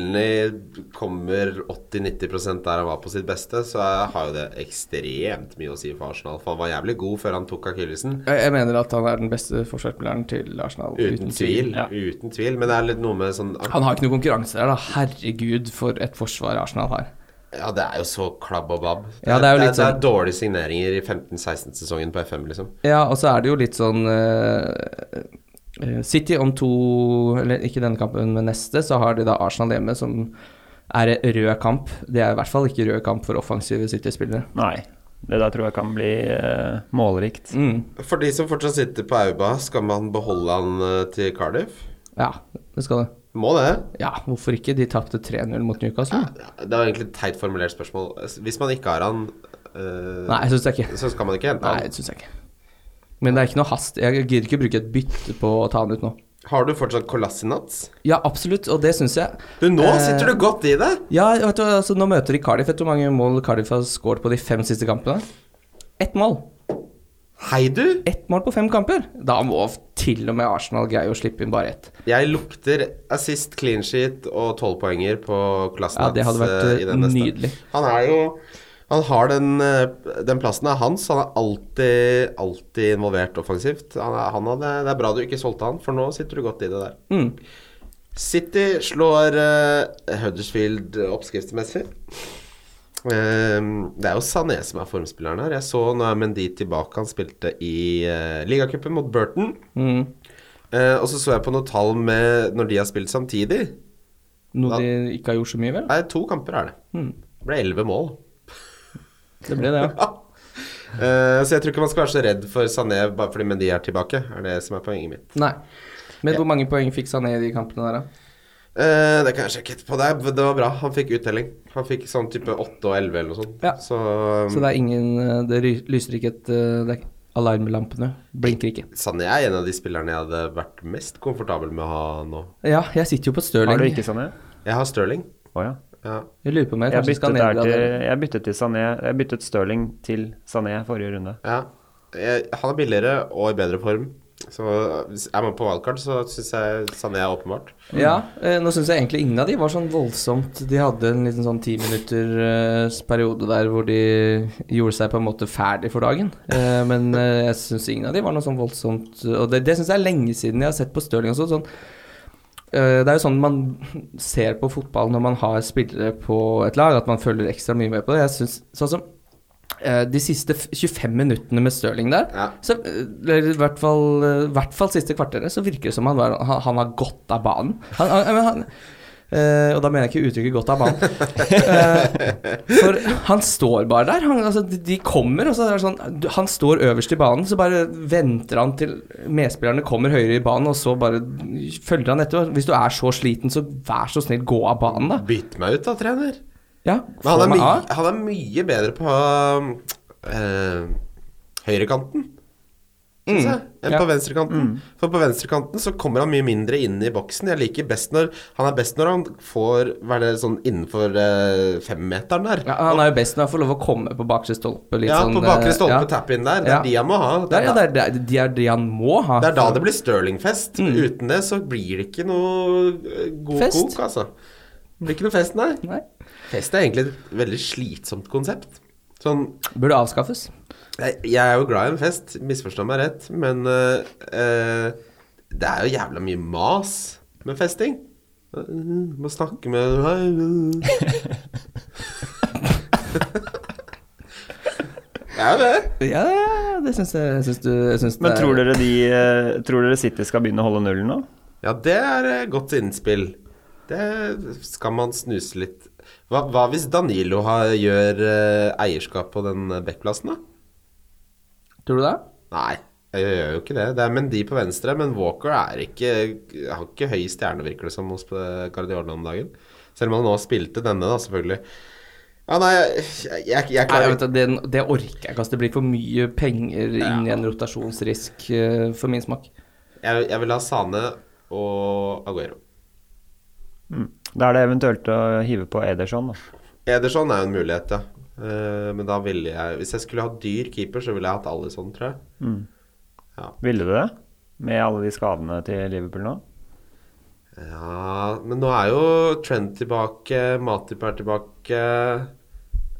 Korselny kommer 80-90 der han var på sitt beste, så er- har jo det ekstremt mye å si for Arsenal. For han var jævlig god før han tok akillesen. Jeg, jeg mener at han er den beste forsvarsspilleren til Arsenal. Uten tvil. ja. Uten tvil. Men det er litt noe med sånn Han har ikke noe konkurranse der, da. Herregud, for et forsvar Arsenal har. Ja, det er jo så klabb og babb. Ja, det er jo litt det, er, sånn- dårlige signeringer i 15-16-sesongen på FM, liksom. Ja, og så er det jo litt sånn eh, eh, City om to Eller ikke denne kampen, men neste, så har de da Arsenal hjemme, som er rød kamp. Det er i hvert fall ikke rød kamp for offensive City-spillere. Nei. Det der tror jeg kan bli eh, målrikt. Mm, For de som fortsatt sitter på Auba, skal man beholde han eh, til Cardiff? ja, det skal det. Må det. Ja, hvorfor ikke? De tapte 3-0 mot Newcastle. Ja, Det var egentlig et teit formulert spørsmål. Hvis man ikke har han, eh, Nei, jeg syns det ikke. så skal man ikke hente Nei, han. det syns jeg ikke. Men det er ikke noe hast. Jeg gidder ikke bruke et bytte på å ta han ut nå. Har du fortsatt Kolassinats? Ja, absolutt, og det syns jeg. Du, nå Eh, sitter du godt i det! Ja, vet du, altså, nå møter de Cardiff. Vet du hvor mange mål Cardiff har skåret på de fem siste kampene? Ett mål. Hei, du! Ett mål på fem kamper! Da må f- til og med Arsenal greie å slippe inn bare ett. Jeg lukter assist, clean sheet og tolvpoenger på klassen Ja, det hadde vært, hans, eh, i den neste. nydelig. Han er jo Han har den, eh, den plassen er hans. Han er alltid, alltid involvert offensivt. Han er, han hadde, det er bra du ikke solgte han, for nå sitter du godt i det der. Mm. City slår eh, Huddersfield oppskriftsmessig. Ehm, det er jo Sané som er formspilleren her. Jeg så nå er Mendy tilbake. Han spilte i uh, ligacupen mot Burton. Mm. Eh, og så så jeg på noen tall med når de har spilt samtidig. Noe Ja. de ikke har gjort så mye, vel? Nei, to kamper er det. Det ble elleve mål. Det ble det, Hmm. ja. Eh, så jeg tror ikke man skal være så redd for Sané bare fordi Mendy er tilbake, er det som er poenget mitt. Nei. Men hvor mange poeng fikk Sané i de kampene der, da? Eh, det kan jeg sjekke etterpå. Det, er- det var bra. Han fikk uttelling. Han fikk sånn type åtte og elleve eller noe sånt. Ja. Så, um, Så det er ingen eh, Det ry- lyser ikke et eh, Det er ikke- Alarmlampene blinker ikke. Sané er en av de spillerne jeg hadde vært mest komfortabel med å ha nå. Ja, jeg sitter jo på Stirling. Har du ikke Sané? Jeg har Stirling. Å ja. Ja. Jeg lurer på om jeg Jeg kanskje skal byttet, der til, nedgradere. jeg byttet til Sané Jeg byttet Stirling til Sané forrige runde. ja. Jeg, han er billigere og i bedre form. Så hvis er man på wildcard, så syns jeg Sané er åpenbart. Ja, eh, nå syns jeg egentlig ingen av de var sånn voldsomt De hadde en liten sånn ti minutters periode der hvor de gjorde seg på en måte ferdig for dagen. Eh, Men eh, jeg syns ingen av de var noe sånn voldsomt Og det, det syns jeg er lenge siden jeg har sett på Stirling også. Sånn, eh, det er jo sånn man ser på fotball når man har spillere på et lag, at man følger ekstra mye med på det. Jeg synes, sånn som eh, de siste f- 25 minuttene med Stirling der Ja. så, eller i hvert fall, eh, i hvert fall siste kvarteret så virker det som han, var, han, han har gått av banen. Han, han, men han, eh, og da mener jeg ikke uttrykket 'gått av banen'. Eh, for han står bare der. Han, altså, de- de kommer, og så er det sånn du- Han står øverst i banen, så bare venter han til medspillerne kommer høyere i banen, og så bare følger han etter. Hvis du er så sliten, så vær så snill, gå av banen, da. Bytt meg ut, da, trener. Ja, Men han få er, meg mye, av. han er mye bedre på eh, høyrekanten, syns jeg, enn Mm. ja. Mm. på venstrekanten. For på venstrekanten så kommer han mye mindre inn i boksen. Jeg liker best når Han er best når han får være sånn innenfor eh, femmeteren der. Ja, han er jo best når han får lov å komme på bakre stolpe. Litt ja, sånn, på bakre eh, stolpe, ja. tap-in der. Det er Ja. de han må ha. Det Det er, er, ja, det er, det er, de er de han må ha. da- det er da det blir Stirling-fest. Uten det så blir det ikke noe eh, god Mm. Fest. kok, altså. Det blir ikke noe fest, nei. Nei. Fest er egentlig et veldig slitsomt konsept. Sånn Burde avskaffes. Jeg, jeg er jo glad i en fest, misforstå meg rett, men øh, øh, det er jo jævla mye mas med festing. Øh, Må snakke med Hei, øh. Det er jo det. Ja, ja, det syns jeg, jeg syns du jeg syns Men det er- tror dere, de, eh, tror dere City skal begynne å holde nullen nå? Ja, det er eh, godt innspill. Det skal man snuse litt. Hva, hva hvis Danilo har, gjør eh, eierskap på den eh, backplassen, da? Tror du det? Nei, jeg gjør jo ikke det. Det er Mendy på venstre, men Walker er ikke har ikke høy stjerne, virker det som, hos Guardiola om dagen. Selv om han nå spilte denne, da, selvfølgelig. Ja, nei, jeg, jeg, jeg Nei, jeg klarer vet, at det, det orker jeg ikke. ass. Det blir for mye penger inn i en rotasjonsrisk eh, for min smak. jeg, jeg vil ha Sane og Aguero. Mm. Da er det eventuelt å hive på Ederson, da. Ederson er jo en mulighet, ja. Eh, men da ville jeg Hvis jeg skulle ha dyr keeper, så ville jeg hatt Alison, tror jeg. Ville du det? Med alle de skadene til Liverpool nå? Ja, men nå er jo Trent tilbake, Matip er tilbake.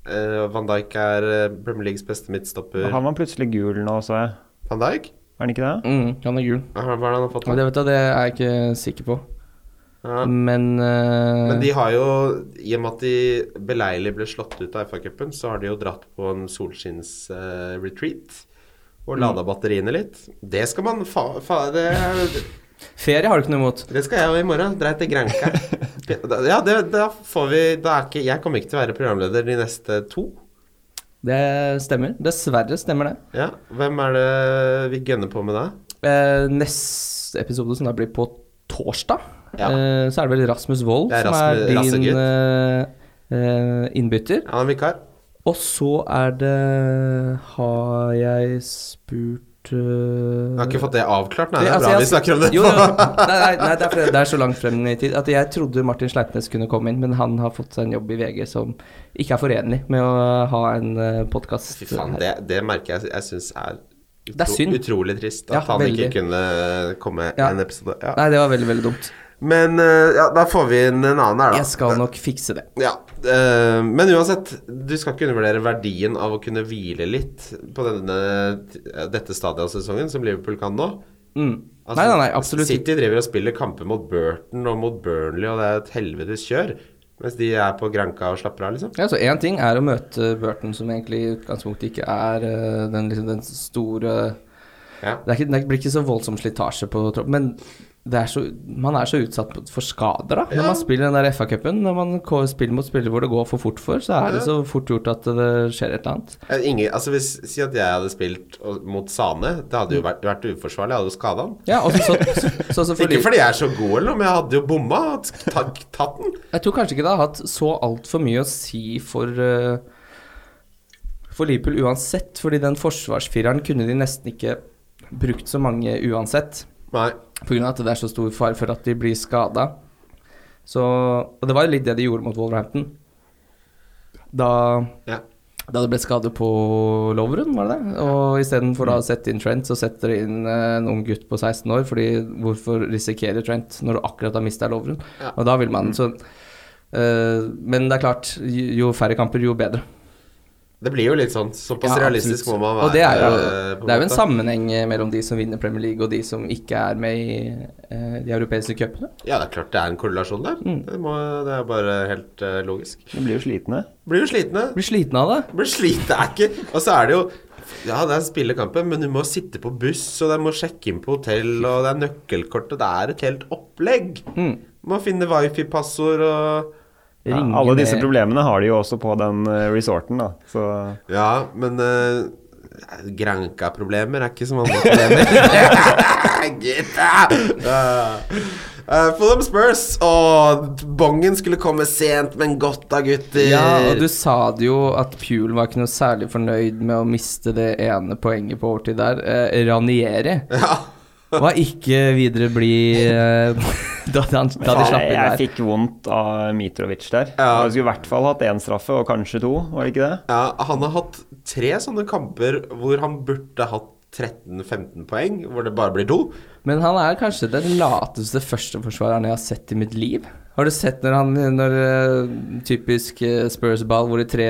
eh, Van Dijk er eh, Premier Leagues beste midtstopper. Han var plutselig gul nå, så jeg. Van Dijk? Er han ikke det? Mm, han er gul. Hva hva er det han har fått? Og det, vet du, det er jeg ikke sikker på. Ja. Men, eh, Men de har jo, i og med at de beleilig ble slått ut av FA-cupen, så har de jo dratt på en solskinns-retreat. og Mm. lada batteriene litt. Det skal man fa... fa det, Ferie har du ikke noe imot. det skal jeg jo i morgen. Dreit til Granca. Ja, det, da får vi Da er ikke Jeg kommer ikke til å være programleder de neste to. Det stemmer. Dessverre stemmer det. Ja, Hvem er det vi gønner på med da? Eh, neste episode, som da blir på torsdag, Ja. eh, så er det vel Rasmus Wold Det er som Rasmus- er din rassegutt. eh, eh, innbytter. Han er vikar. Og så er det Har jeg spurt øh, Jeg har ikke fått det avklart. Nei, det Det- er altså, bra jeg- vi snakker om det. Jo, jo, nei, nei, nei det, er fordi det er så langt frem i tid. At jeg trodde Martin Sleipnes kunne komme inn, men han har fått seg en jobb i VG som ikke er forenlig med å ha en eh, podkast. Fy faen, det, det merker jeg jeg syns er, utro, Det er synd. utrolig trist. At Ja, han veldig. ikke kunne komme Ja. en episode. Ja. Nei, det var veldig, veldig dumt. Men eh, ja, da får vi inn en annen her, da. Jeg skal nok fikse det. Ja, eh, Men uansett, du skal ikke undervurdere verdien av å kunne hvile litt på denne, dette stadiet av sesongen som Liverpool kan nå. Mm. Altså, Nei, nei, nei, absolutt ikke. City driver og spiller kamper mot Burton og mot Burnley, og det er et helvetes kjør. Mens de er på Granca og slapper av, liksom. Ja, så Én ting er å møte Burton, som egentlig i utgangspunktet ikke er øh, den, liksom, den store Ja. Det, er ikke, det blir ikke så voldsom slitasje på troppen, men det er så, man er så utsatt for skader da, når man spiller den der FA-cupen. Når man ko- spiller mot spillere hvor det går for fort for, så er det så fort gjort at det skjer et eller annet. Eh, Ingen, altså hvis, Si at jeg hadde spilt og- mot Sane. Det hadde jo vært, vært uforsvarlig. Jeg hadde jo skada han. Ja, og så, så, så, så fordi, Ikke fordi jeg er så god, eller noe, men jeg hadde jo bomma og tatt, tatt den. Jeg tror kanskje ikke det har hatt så altfor mye å si for eh, for Liverpool uansett, fordi den forsvarsfireren kunne de nesten ikke brukt så mange uansett. Nei. Pga. at det er så stor fare for at de blir skada. Og det var jo litt det de gjorde mot Wolverhampton. Da, Ja. da det ble skade på Lovren, var det det? Og istedenfor da å sette inn Trent, så setter de inn eh, en ung gutt på 16 år. Fordi hvorfor risikere Trent når du akkurat har mista Lovren? Ja. Og da vil man så eh, Men det er klart, jo jo færre kamper, jo bedre. Det blir jo litt sånn. Såpass Ja, realistisk absolutt. må man være. Og det er jo, eh, på det er jo en måte. sammenheng eh, mellom de som vinner Premier League, og de som ikke er med i eh, de europeiske cupene. Ja, det er klart det er en korrelasjon der. Mm. Det, må, det er bare helt eh, logisk. De blir jo slitne. Blir jo slitne. Blir sliten av det. Blir slitne er ikke Og så er det jo Ja, det er spillekampen, men du må sitte på buss, og du må sjekke inn på hotell, og det er nøkkelkort, og det er et helt opplegg. Mm. Må finne wifi-passord og Ja, Ringer alle disse ned. problemene har de jo også på den eh, resorten, da. Så Ja, men eh, Granka-problemer er ikke som andre problemer. Gutta! Uh, Eh, Fulham Spurs. Og bongen skulle komme sent, men godt da, gutter. Ja, og du sa det jo at Puel var ikke noe særlig fornøyd med å miste det ene poenget på overtid der. Eh, Ranieri Ja. var ikke videre blid eh, da, da, han- da de jeg, slapp inn jeg der. fikk vondt av Mitrovic der. Ja. Jeg skulle i hvert fall hatt én straffe, og kanskje to, var det ikke det? ja, han har hatt tre sånne kamper hvor han burde hatt 13-15 poeng, hvor det bare blir to. Men han er kanskje den lateste førsteforsvareren jeg har sett i mitt liv. Har du sett når han når, eh, Typisk eh, Spurs-ball hvor de tre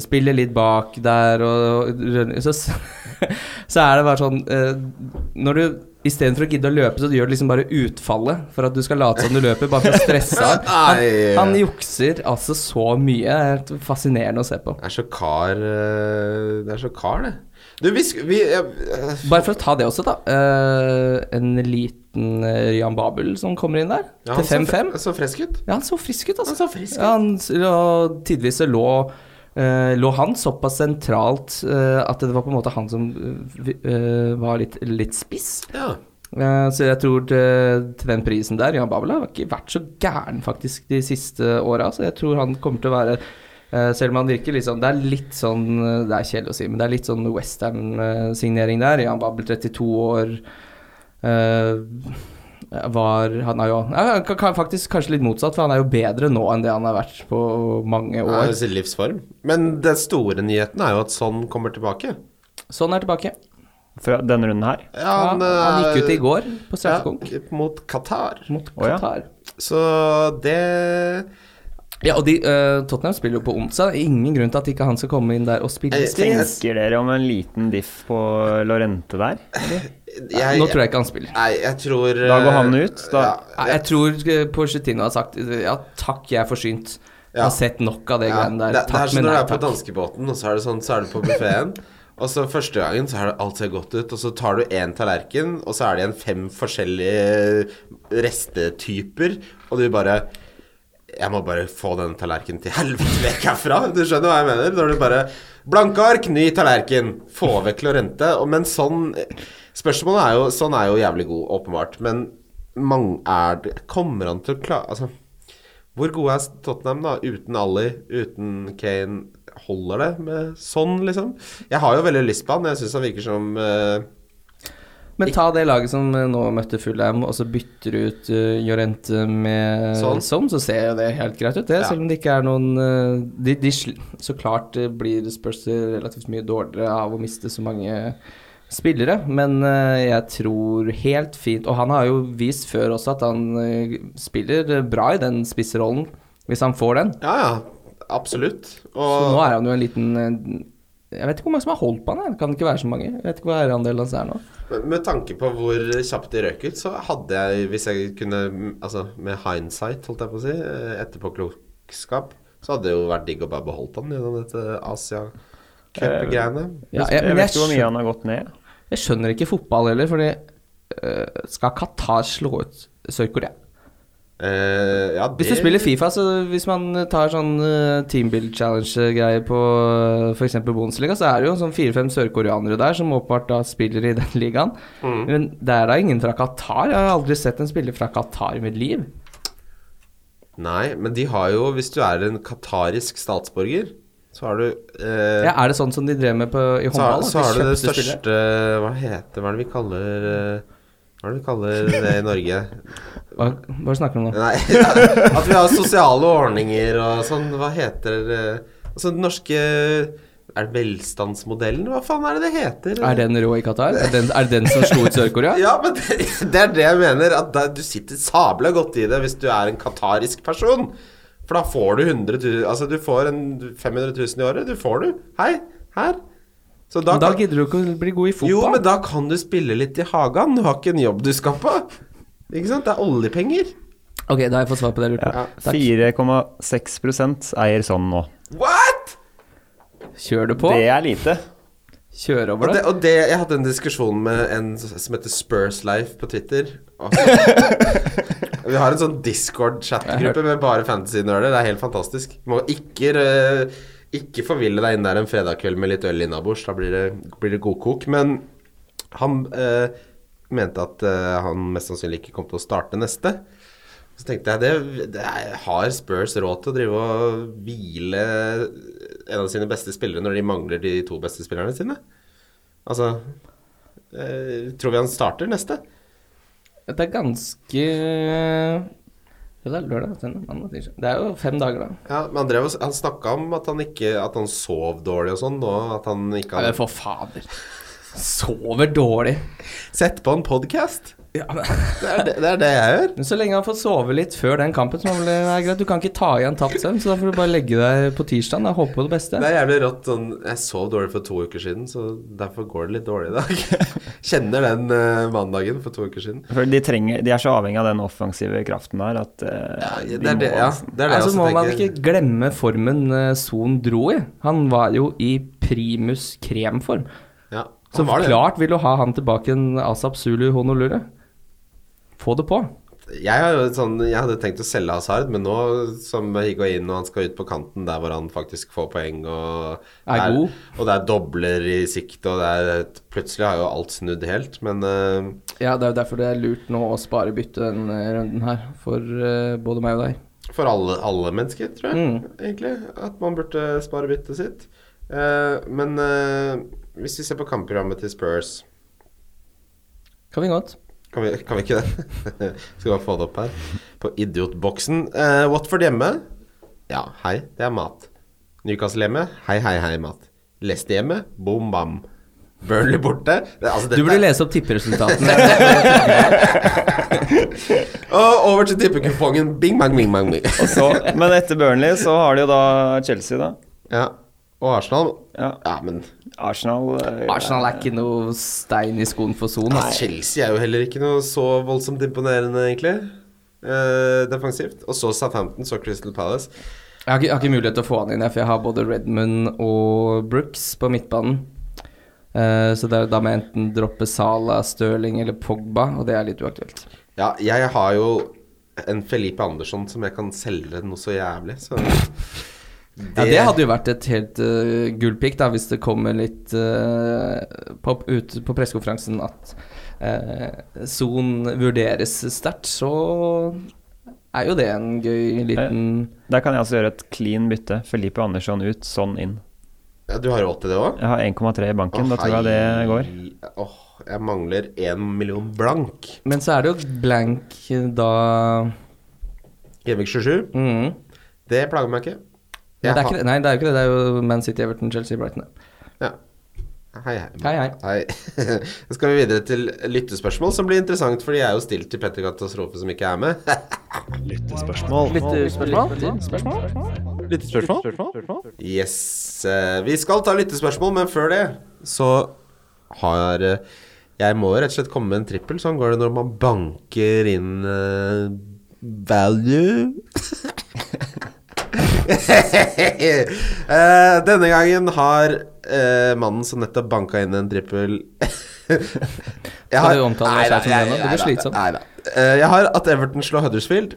spiller litt bak der, og, og så, så er det bare sånn eh, Når du Istedenfor å gidde å løpe, så gjør du liksom bare utfallet for at du skal late som du løper, bare for å stresse av. Han, Nei. han jukser altså så mye. Det er helt fascinerende å se på. Det er så kar eh, Det er så kar, det. Du, vi, sk vi eh, Bare for å ta det også, da. eh, en liten eh, Ryan Babel som kommer inn der, ja, han til så fre- 5-5. Så frisk ut. Ja, han så frisk ut, altså. Han så frisk ut. ja, han, s- og tidvis så lå, eh, lå han såpass sentralt eh, at det var på en måte han som eh, vi- eh, var litt, litt spiss. Ja. Eh, så jeg tror til, til den prisen der Jan Babel har ikke vært så gæren faktisk de siste åra, så jeg tror han kommer til å være eh, selv om han virker litt sånn Det er litt sånn eh, Det er kjedelig å si, men det er litt sånn Westham-signering der. Jan Babel, 32 år, eh, var Han er jo ja, han kan- kan faktisk kanskje litt motsatt, for han er jo bedre nå enn det han har vært på mange Det er år. jo sin livsform. Men den store nyheten er jo at sånn kommer tilbake. Sånn er tilbake. Fra denne runden her. Ja, Ja, han, gikk ut i går på straffekonk eh, Ja, mot Qatar. mot Å, ja. Qatar. Så det Ja, og de, eh, Tottenham spiller jo på onsdag. Ingen grunn til at ikke han skal komme inn der og spille Jeg- spiss. Tenker dere om en liten diff på Lorente der? jeg, Nå tror jeg ikke han spiller. Nei, jeg tror Da går han eh, ut, da. Nei, Jeg tror Porcetino har sagt eh, ja, takk, jeg er forsynt. Jeg Ja. har sett nok av det Ja, greiene der. det, det er Takk, som men når du nei er på takk. danskebåten, og så er det sånn, så er du på buffeen. Og så første gangen så er det alt ser godt ut, og så tar du én tallerken, og så er det igjen fem forskjellige restetyper, og du bare Jeg må bare få denne tallerkenen til helvete vekk herfra. Du skjønner hva jeg mener? Når du bare Blanke ark, ny tallerken. Få vekk Lorente. Og, men sånn Spørsmålet er jo Sånn er jo jævlig god, åpenbart. Men mang- er det Kommer han til å klare Altså hvor gode er Tottenham da, uten Ally, uten Kane? Holder det med sånn, liksom? Jeg har jo veldig lyst på han, jeg syns han virker som eh, Men ta det laget som eh, nå møtte Fulham, og så bytter du ut eh, Llorente med Sånn. sånn. så ser jo det helt greit ut, det. Ja. Selv om det ikke er noen eh, de, de, sl- Så klart eh, blir Spurs relativt mye dårligere av å miste så mange spillere, men eh, jeg tror helt fint Og han har jo vist før også at han eh, spiller bra i den spissrollen, hvis han får den. Ja, ja, absolutt. Så nå Og er han jo en liten eh, Jeg vet ikke hvor mange som har holdt på han, jeg. det kan ikke være så mange. Jeg vet ikke hva æreandelen hans er nå. med, med tanke på hvor kjapt de røk ut, så hadde jeg, hvis jeg kunne mm, Altså med hindsight, holdt jeg på å si, eh, etterpåklokskap, så hadde det jo vært digg å bare beholdt han gjennom dette Asia-cup-greiene. Ja, jeg- jeg, men vet ikke hvor skjønner- mye han har gått ned. Jeg skjønner ikke fotball heller, fordi øh, skal Qatar slå ut Sør-Korea? Eh, ja, Hvis du det- spiller Fifa, så hvis man tar sånn øh, teambuild challenge-greie på f.eks. Bundesliga, så er det jo sånn fire-fem sørkoreanere der som åpenbart da spiller i den ligaen. Mm. Men det er da ingen fra Qatar. Jeg har aldri sett en spiller fra Qatar i mitt liv. Nei, men de har jo Hvis du er en qatarisk statsborger, Så har du eh, Ja, er det sånn som de drev med på, i så, har- håndball? så at har de du det kjøpte spillere? største Hva heter Hva er det vi kaller eh, Hva er det vi kaller det i Norge? Hva, hva snakker du om nå? Nei, at vi har sosiale ordninger og sånn. Hva heter eh, Altså den norske Er det velstandsmodellen? Hva faen er det det heter? Er den rå i Qatar? Er, den- er det den som slo ut Sør-Korea? Ja, men det, det er det jeg mener. At da, du sitter sabla godt i det hvis du er en qatarisk person. For da får du 100 000 Altså, du får en 500 000 i året. Du får du. Hei, her. Så Men da kan- gidder du ikke å bli god i fotball. Jo, men da kan du spille litt i hagen. Du har ikke en jobb du skal på. Ikke sant? Det er oljepenger. Ok, da har jeg fått svar på det jeg lurte på. Takk. 4,6 eier sånn nå. What?! Kjør du på? Det er lite. Kjør Og over det, det? og det, jeg hadde en diskusjon med en som heter Spurslife på Twitter. Og så- Vi har en sånn Discord-chatgruppe med bare fantasy-nerder. Det er helt fantastisk. Må ikke, eh, ikke forville deg inn der en fredagskveld med litt øl innabords. Da blir det, blir det god kok. Men han eh, mente at eh, han mest sannsynlig ikke kom til å starte neste. Så tenkte jeg, det, det er, har Spurs råd til å drive og hvile en av sine beste spillere når de mangler de to beste spillerne sine? Altså eh, Tror vi han starter neste? Det er ganske Jo, det er lørdag. søndag, mandag, tirsdag. Det er jo fem dager, da. Ja, men han, drev og- han snakka om at han, ikke, at han sov dårlig og sånn, og at han ikke Ja, men hadde for fader. Sover dårlig. Sett på en podkast! Ja, men. Det, er det det er det jeg gjør. men så lenge han får sove litt før den kampen, så må det være greit. Du kan ikke ta igjen tapt søvn, så da får du bare legge deg på tirsdag og håpe på det beste. Det er jævlig rått. Sånn, jeg sov dårlig for to uker siden, så derfor går det litt dårlig i dag. Kjenner den eh, mandagen for to uker siden. For de, trenger, de er så avhengig av den offensive kraften der at eh, Det de er det, må ja, nesten- det er det jeg altså også må man tenker. ikke glemme formen eh, Son dro i. Han var jo i primus kremform. Ja, Så han var det. klart vil du ha han tilbake en Asap Zulu Honolulu. Få det på. Jeg, har jo en sånn, jeg hadde tenkt å selge Hazard, men nå som Higuain og han skal ut på kanten der hvor han faktisk får poeng og Er det god. Og det er dobler i sikte, og det er Plutselig har jo alt snudd helt, men eh, Ja, det er jo derfor det er lurt nå å spare bytte denne runden her, for eh, både meg og deg. For alle, alle mennesker, tror jeg, Mm. egentlig. At man burde spare byttet sitt. Eh, men eh, hvis vi ser på kampprogrammet til Spurs Kan vi godt. Kan vi, kan vi ikke det? Skal bare få det opp her. På idiotboksen. Eh, Watford hjemme. Ja, hei, det er mat. Newcastle hjemme. Hei, hei, hei, mat. Leicester hjemme. Boom, bam. Burnley borte. Det, altså, Du dette burde er- lese opp tipperesultatene. Og over til tippekupongen. Bing, bang, bing, bang, bing. Og så, men etter Burnley så har de jo da Chelsea, da. ja. Og Arsenal. Ja. Ja, men Arsenal eh, Arsenal er ikke noe stein i skoen for Son. altså, ass. Chelsea er jo heller ikke noe så voldsomt imponerende, egentlig. Eh, defensivt. Og så Southampton, så Crystal Palace. Jeg har, ikke, jeg har ikke mulighet til å få han inn, jeg, for jeg har både Redmond og Brooks på midtbanen. Eh, så da- da må jeg enten droppe Sala, Stirling eller Pogba, og det er litt uaktuelt. Ja, jeg har jo en Felipe Andersson som jeg kan selge noe så jævlig, så Ja, det hadde jo vært et helt uh, gullpick da, hvis det kommer litt eh, på, ut på pressekonferansen at eh, Son vurderes sterkt, så er jo det en gøy liten Der kan jeg altså gjøre et clean bytte. Felipe Andersson ut, sånn inn. ja, Du har råd til det òg? Jeg har 1,3 i banken, da tror jeg det går. Åh, jeg mangler én million blank. Men så er det jo blank eh, da Gjevik 27. mm. Det plager meg ikke. Nei, Jeg det er har- ikke det. Nei, det er jo ikke det. Det er jo Man City, Everton, Chelsea, Brighton. det. Ja. Hei, hei. Hei, hei. Så skal vi videre til lyttespørsmål, som blir interessant, for de er jo stilt til Petter Katastrofe, som ikke er med. Yes. eh, Vi skal ta lyttespørsmål, men før det så har eh, Jeg må jo rett og slett komme med en trippel. Sånn går det når man banker inn eh, value. Eh, denne gangen har eh, mannen som nettopp banka inn en trippel Jeg Skal du omtale deg selv som det nå? Det blir slitsomt. Nei da. Eh, jeg har at Everton slår Huddersfield.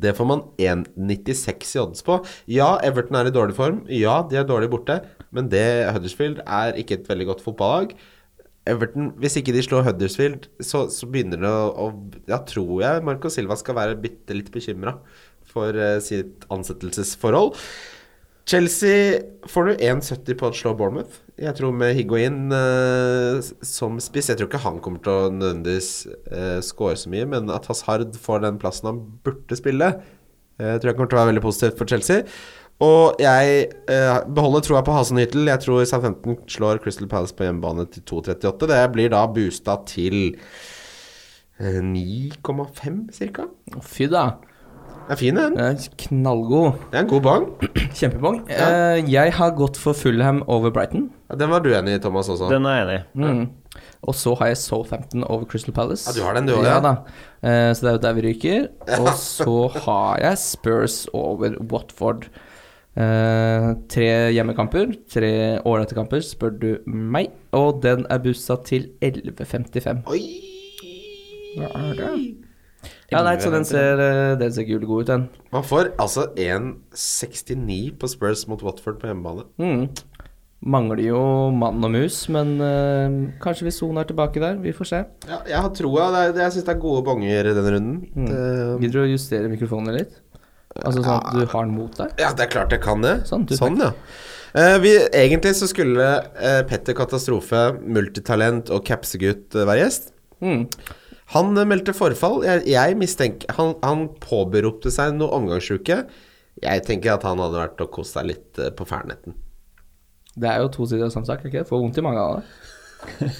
Det får man 1,96 i odds på. Ja, Everton er i dårlig form. Ja, de er dårlig borte. Men det Huddersfield er ikke et veldig godt fotballag. Everton, Hvis ikke de slår Huddersfield, så, så begynner det å, å Ja, tror jeg Marco Silva skal være bitte litt bekymra for eh, sitt ansettelsesforhold. Chelsea får du 1,70 på å slå Bournemouth. Jeg tror med Higuain eh, som spiss Jeg tror ikke han kommer til å nødvendigvis eh, score så mye, men at Hazard får den plassen han burde spille, eh, tror jeg kommer til å være veldig positivt for Chelsea. Og jeg eh, beholder troa på Hasenhyttel. Jeg tror Southampton slår Crystal Palace på hjemmebane til 2,38. Det blir da boosta til eh, 9,5 ca. Å, Fy da. Det er fin, den. Det er knallgod. Det er en god bang. Kjempebong. Eh, jeg har gått for Fulham over Brighton. Ja, Den var du enig i, Thomas, også. Den er jeg enig i. Mm. Og så har jeg Southampton over Crystal Palace. Ja, du har den, du også, Ja ja. da. Eh, så det er jo der vi ryker. Og så har jeg Spurs over Watford. Eh, tre hjemmekamper, tre ålreite kamper, spør du meg. Og den er bussa til 11.55. Oi! Ja, nei, så den ser, eh, den ser gul og god ut, den. Man får altså 1,69 på Spurs mot Watford på hjemmebane. Mm. Mangler jo mann og mus, men eh, kanskje vi soner tilbake der. Vi får se. Ja, jeg har troa. Det er- det- Jeg syns det er gode bonger i denne runden. Mm. Det, Gidder du å justere mikrofonen litt? Altså sånn at du har den mot deg? ja, det er klart jeg kan det. Sånn, tusen ja. Eh, vi, egentlig så skulle eh, Petter Katastrofe, multitalent og capsegutt eh, være gjest. Mm. Han eh, meldte forfall. Jeg, jeg mistenker Han, han påberopte seg noe omgangsuke. Jeg tenker at han hadde vært og kost seg litt eh, på fernetten. Det er jo to sider av samme sak. ikke? Får vondt i mange av det.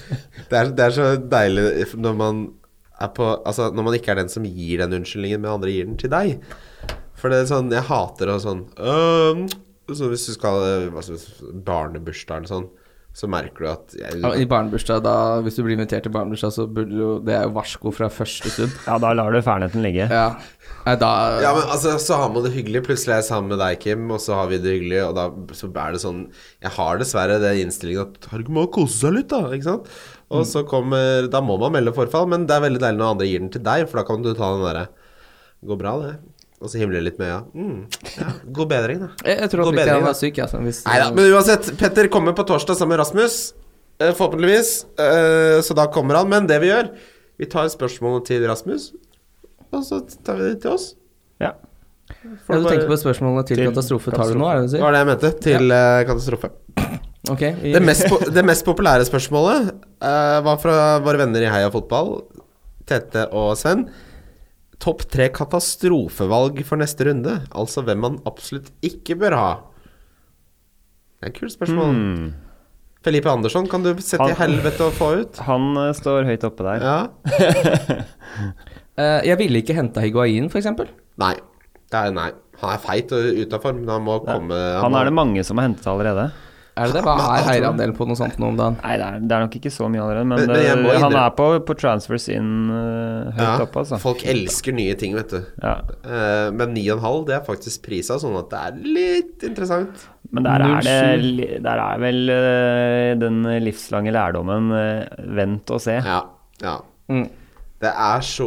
Det er, det er så deilig når man er på Altså når man ikke er den som gir den unnskyldningen, men andre gir den til deg. For det er sånn Jeg hater å sånn øhm, så Hvis du skal øh, hva skal vi- barnebursdag eller sånn, så merker du at jeg, Ja, I barnebursdag, da, hvis du blir invitert til barnebursdag, så burde du jo Det er jo varsko fra første stund. Ja, da lar du ferdigheten ligge. Ja. Nei, da Ja, men altså, så har man det hyggelig. Plutselig er jeg sammen med deg, Kim, og så har vi det hyggelig, og da så er det sånn Jeg har dessverre den innstillingen at Herregud, man må kose seg litt, da. Ikke sant? Og så kommer Da må man melde forfall, men det er veldig deilig når andre gir den til deg, for da kan du ta den derre Går bra, det. Og så himler litt med øya. Mm, ja, god bedring, da. jeg, jeg tror God oppriktig bedring, han da. er syk, altså. Hvis, Nei da, men uansett. Petter kommer på torsdag sammen med Rasmus. eh, Forhåpentligvis. eh, Så da kommer han. Men det vi gjør, vi tar spørsmålene til Rasmus, og så tar vi det til oss. Ja. ja, du tenker på spørsmålene til, Til katastrofe. Tar du nå, er det det du Det sier? var det jeg mente. Til eh, katastrofe. Ok. vi- Det mest, po det mest populære spørsmålet eh, var fra våre venner i Heia Fotball, Tete og Sven. Topp tre katastrofevalg for neste runde, altså hvem man absolutt ikke bør ha. Det er et kult spørsmål. Felipe Andersson kan du sette i Hmm. Han- helvete og få ut. Han eh, står høyt oppe der. Ja. Eh, jeg ville ikke henta higuain, f.eks. Nei. Det er nei. Han er feit og ute av form, men han må komme Han må- er det mange som har hentet allerede. Er det det? Hva er eierandelen på noe sånt nå om dagen? Nei, det er, det er nok ikke så mye allerede, men, Men- men jeg må det, han innrømme- er på, på transfers inn eh, høyt Ja, oppe, altså. Folk elsker nye ting, vet du. Ja. Eh, men 9,5 det er faktisk prisa, sånn at det er litt interessant. Men der er, det, 07. li- der er vel eh, den livslange lærdommen eh, vent og se. Ja, ja. Mm. Det er så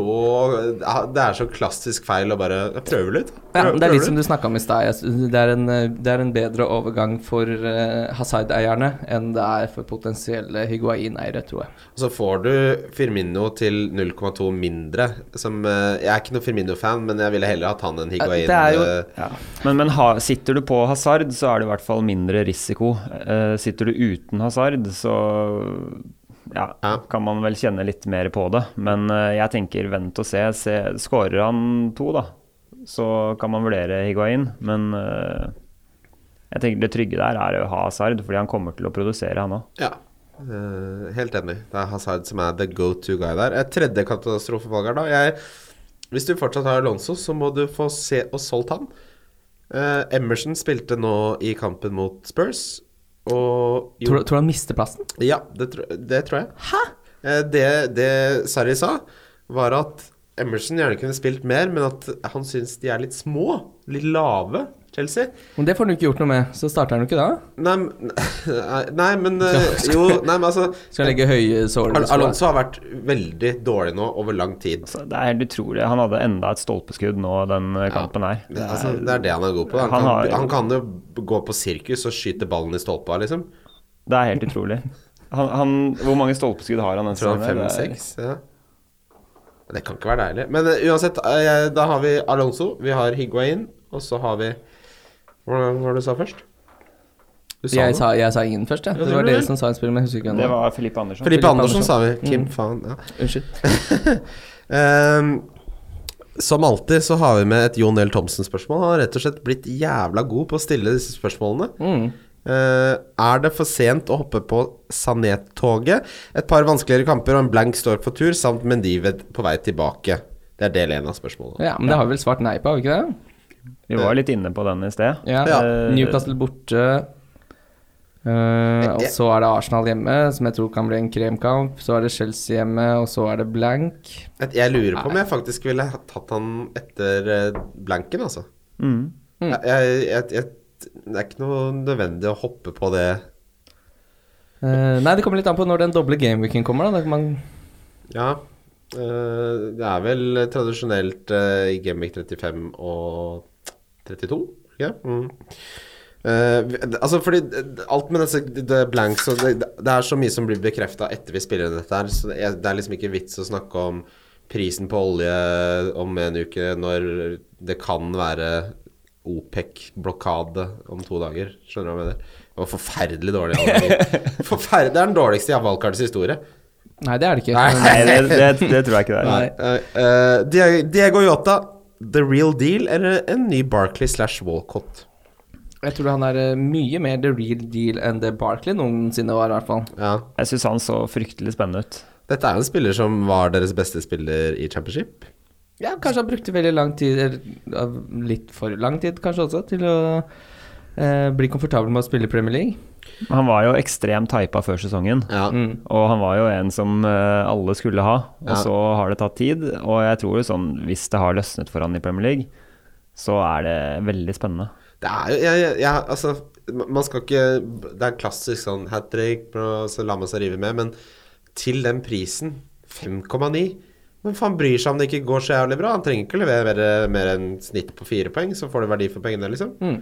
Det er så klassisk feil å bare jeg prøver litt. Ja, Prøver, det er litt prøver som litt. du snakka om i stad. Jeg synes Det, er en, eh, det er en bedre overgang for uh, Hazard-eierne enn det er for potensielle higuain-eiere, tror jeg. Så får du Firmino til 0,2 mindre. Som, eh, jeg er ikke noen Firmino-fan, men jeg ville heller hatt han enn Higuain. Det er jo- eh, Ja. Men, men ha, sitter du på hasard, så er det i hvert fall mindre risiko. Eh, sitter du uten hasard, så ja, Ja. kan man vel kjenne litt mer på det. Men eh, jeg tenker vent og se. se. Skårer han to, da, så kan man vurdere Higuain. Men eh, jeg tenker det trygge der er å ha hasard, fordi han kommer til å produsere, han òg. Ja. Eh, helt enig. Det er Hazard som er the go to guy der. Et tredje katastrofevalg her, da. Jeg, hvis du fortsatt har Alonso, så må du få se og solgt han. Eh, Emerson spilte nå i kampen mot Spurs, og jo- Tror, du- tror du han mister plassen? Ja, det, tro, det tror jeg. Eh, det det Sarri sa, var at Emerson gjerne kunne spilt mer, men at han syns de er litt små. Litt lave, Chelsea. Men det får han jo ikke gjort noe med, så starter han jo ikke da. Nei, men- nei men eh, Jo, nei, men altså Skal legge høye såler Al Alonso har vært veldig dårlig nå over lang tid. Så det er helt utrolig. Han hadde enda et stolpeskudd nå, den eh, kampen her. Det, altså, det er det han er god på. Han, Han kan, har- han kan jo gå på sirkus og skyte ballen i stolpa, liksom. Det er helt utrolig. Han, han, hvor mange stolpeskudd har han? den Tror han sesongen her? Det er- fem-seks. Ja. Det kan ikke være deilig. Men eh, uansett, eh, da har vi Alonso, vi har Higuain, og så har vi Hvordan var det du sa først? Du sa Jeg noe. sa, jeg sa ingen først, jeg. Ja, Det det var gjorde dere du. som sa innspillet, men jeg husker ikke Det ennå. var Filippe Andersson. Filippe Filippe Andersen Andersson. sa vi. Mm. Kim, faen. Ja. Unnskyld. Ehm, som alltid så har vi med et Jon L. Thomsen-spørsmål. Han har rett og slett blitt jævla god på å stille disse spørsmålene. Mm. Eh, er det for sent å hoppe på Sanet-toget? Et par vanskeligere kamper og en blank stork for tur, samt Mendived på vei tilbake. Det er del én av spørsmålet. Ja, men det har vi vel svart nei på, har vi ikke det? Vi var litt inne på den i sted. Ja. Ja. Newcastle borte. Eh, og så er det Arsenal hjemme, som jeg tror kan bli en kremkamp. Så er det Chelsea hjemme, og så er det blank. Et- Jeg lurer på om jeg faktisk ville ha tatt han etter eh, blanken, altså. Mm. Mm. Jeg, jeg, jeg, jeg, det er ikke noe nødvendig å hoppe på det Eh, nei, det kommer litt an på når den doble gameweeken kommer, da. da. kan Man, Ja. eh, det er vel tradisjonelt eh, i Gameweek 35 og 32, ikke mm. Eh, vi- altså fordi eh, alt med disse det- det blanks og det, det er så mye som blir bekrefta etter vi spiller inn dette her, så det er, det er liksom ikke vits å snakke om prisen på olje eh, om en uke når det kan være OPEC-blokade om to dager. Skjønner du hva jeg mener? Det var forferdelig dårlig. Forferd det er den dårligste i Valkards historie. nei, det er det ikke. Nei, det, det, det tror jeg ikke det er. Nei. eh, Diego- Diego Yota, the real deal eller en ny Barkley slash Walcott? Jeg tror han er eh, mye mer the real deal enn det Barkley noensinne var, i hvert fall. Ja. Jeg syns han så fryktelig spennende ut. Dette er jo en spiller som var deres beste spiller i championship. Ja, kanskje han brukte veldig lang tid, eller ja, litt for lang tid kanskje også, til å eh, bli komfortabel med å spille i Premier League. Han var jo ekstremt hypa før sesongen. Ja. Mm. Og han var jo en som eh, alle skulle ha, og Ja. så har det tatt tid. Og jeg tror jo sånn, hvis det har løsnet for han i Premier League, så er det veldig spennende. Det er jo jeg, jeg, jeg, Altså, man skal ikke Det er en klassisk sånn hat trick, bra, så la man seg rive med, men til den prisen, 5,9 men faen bryr seg om det ikke går så jævlig bra? Han trenger ikke levere mer, mer enn snitt på fire poeng, så får du verdi for pengene, liksom. Mm.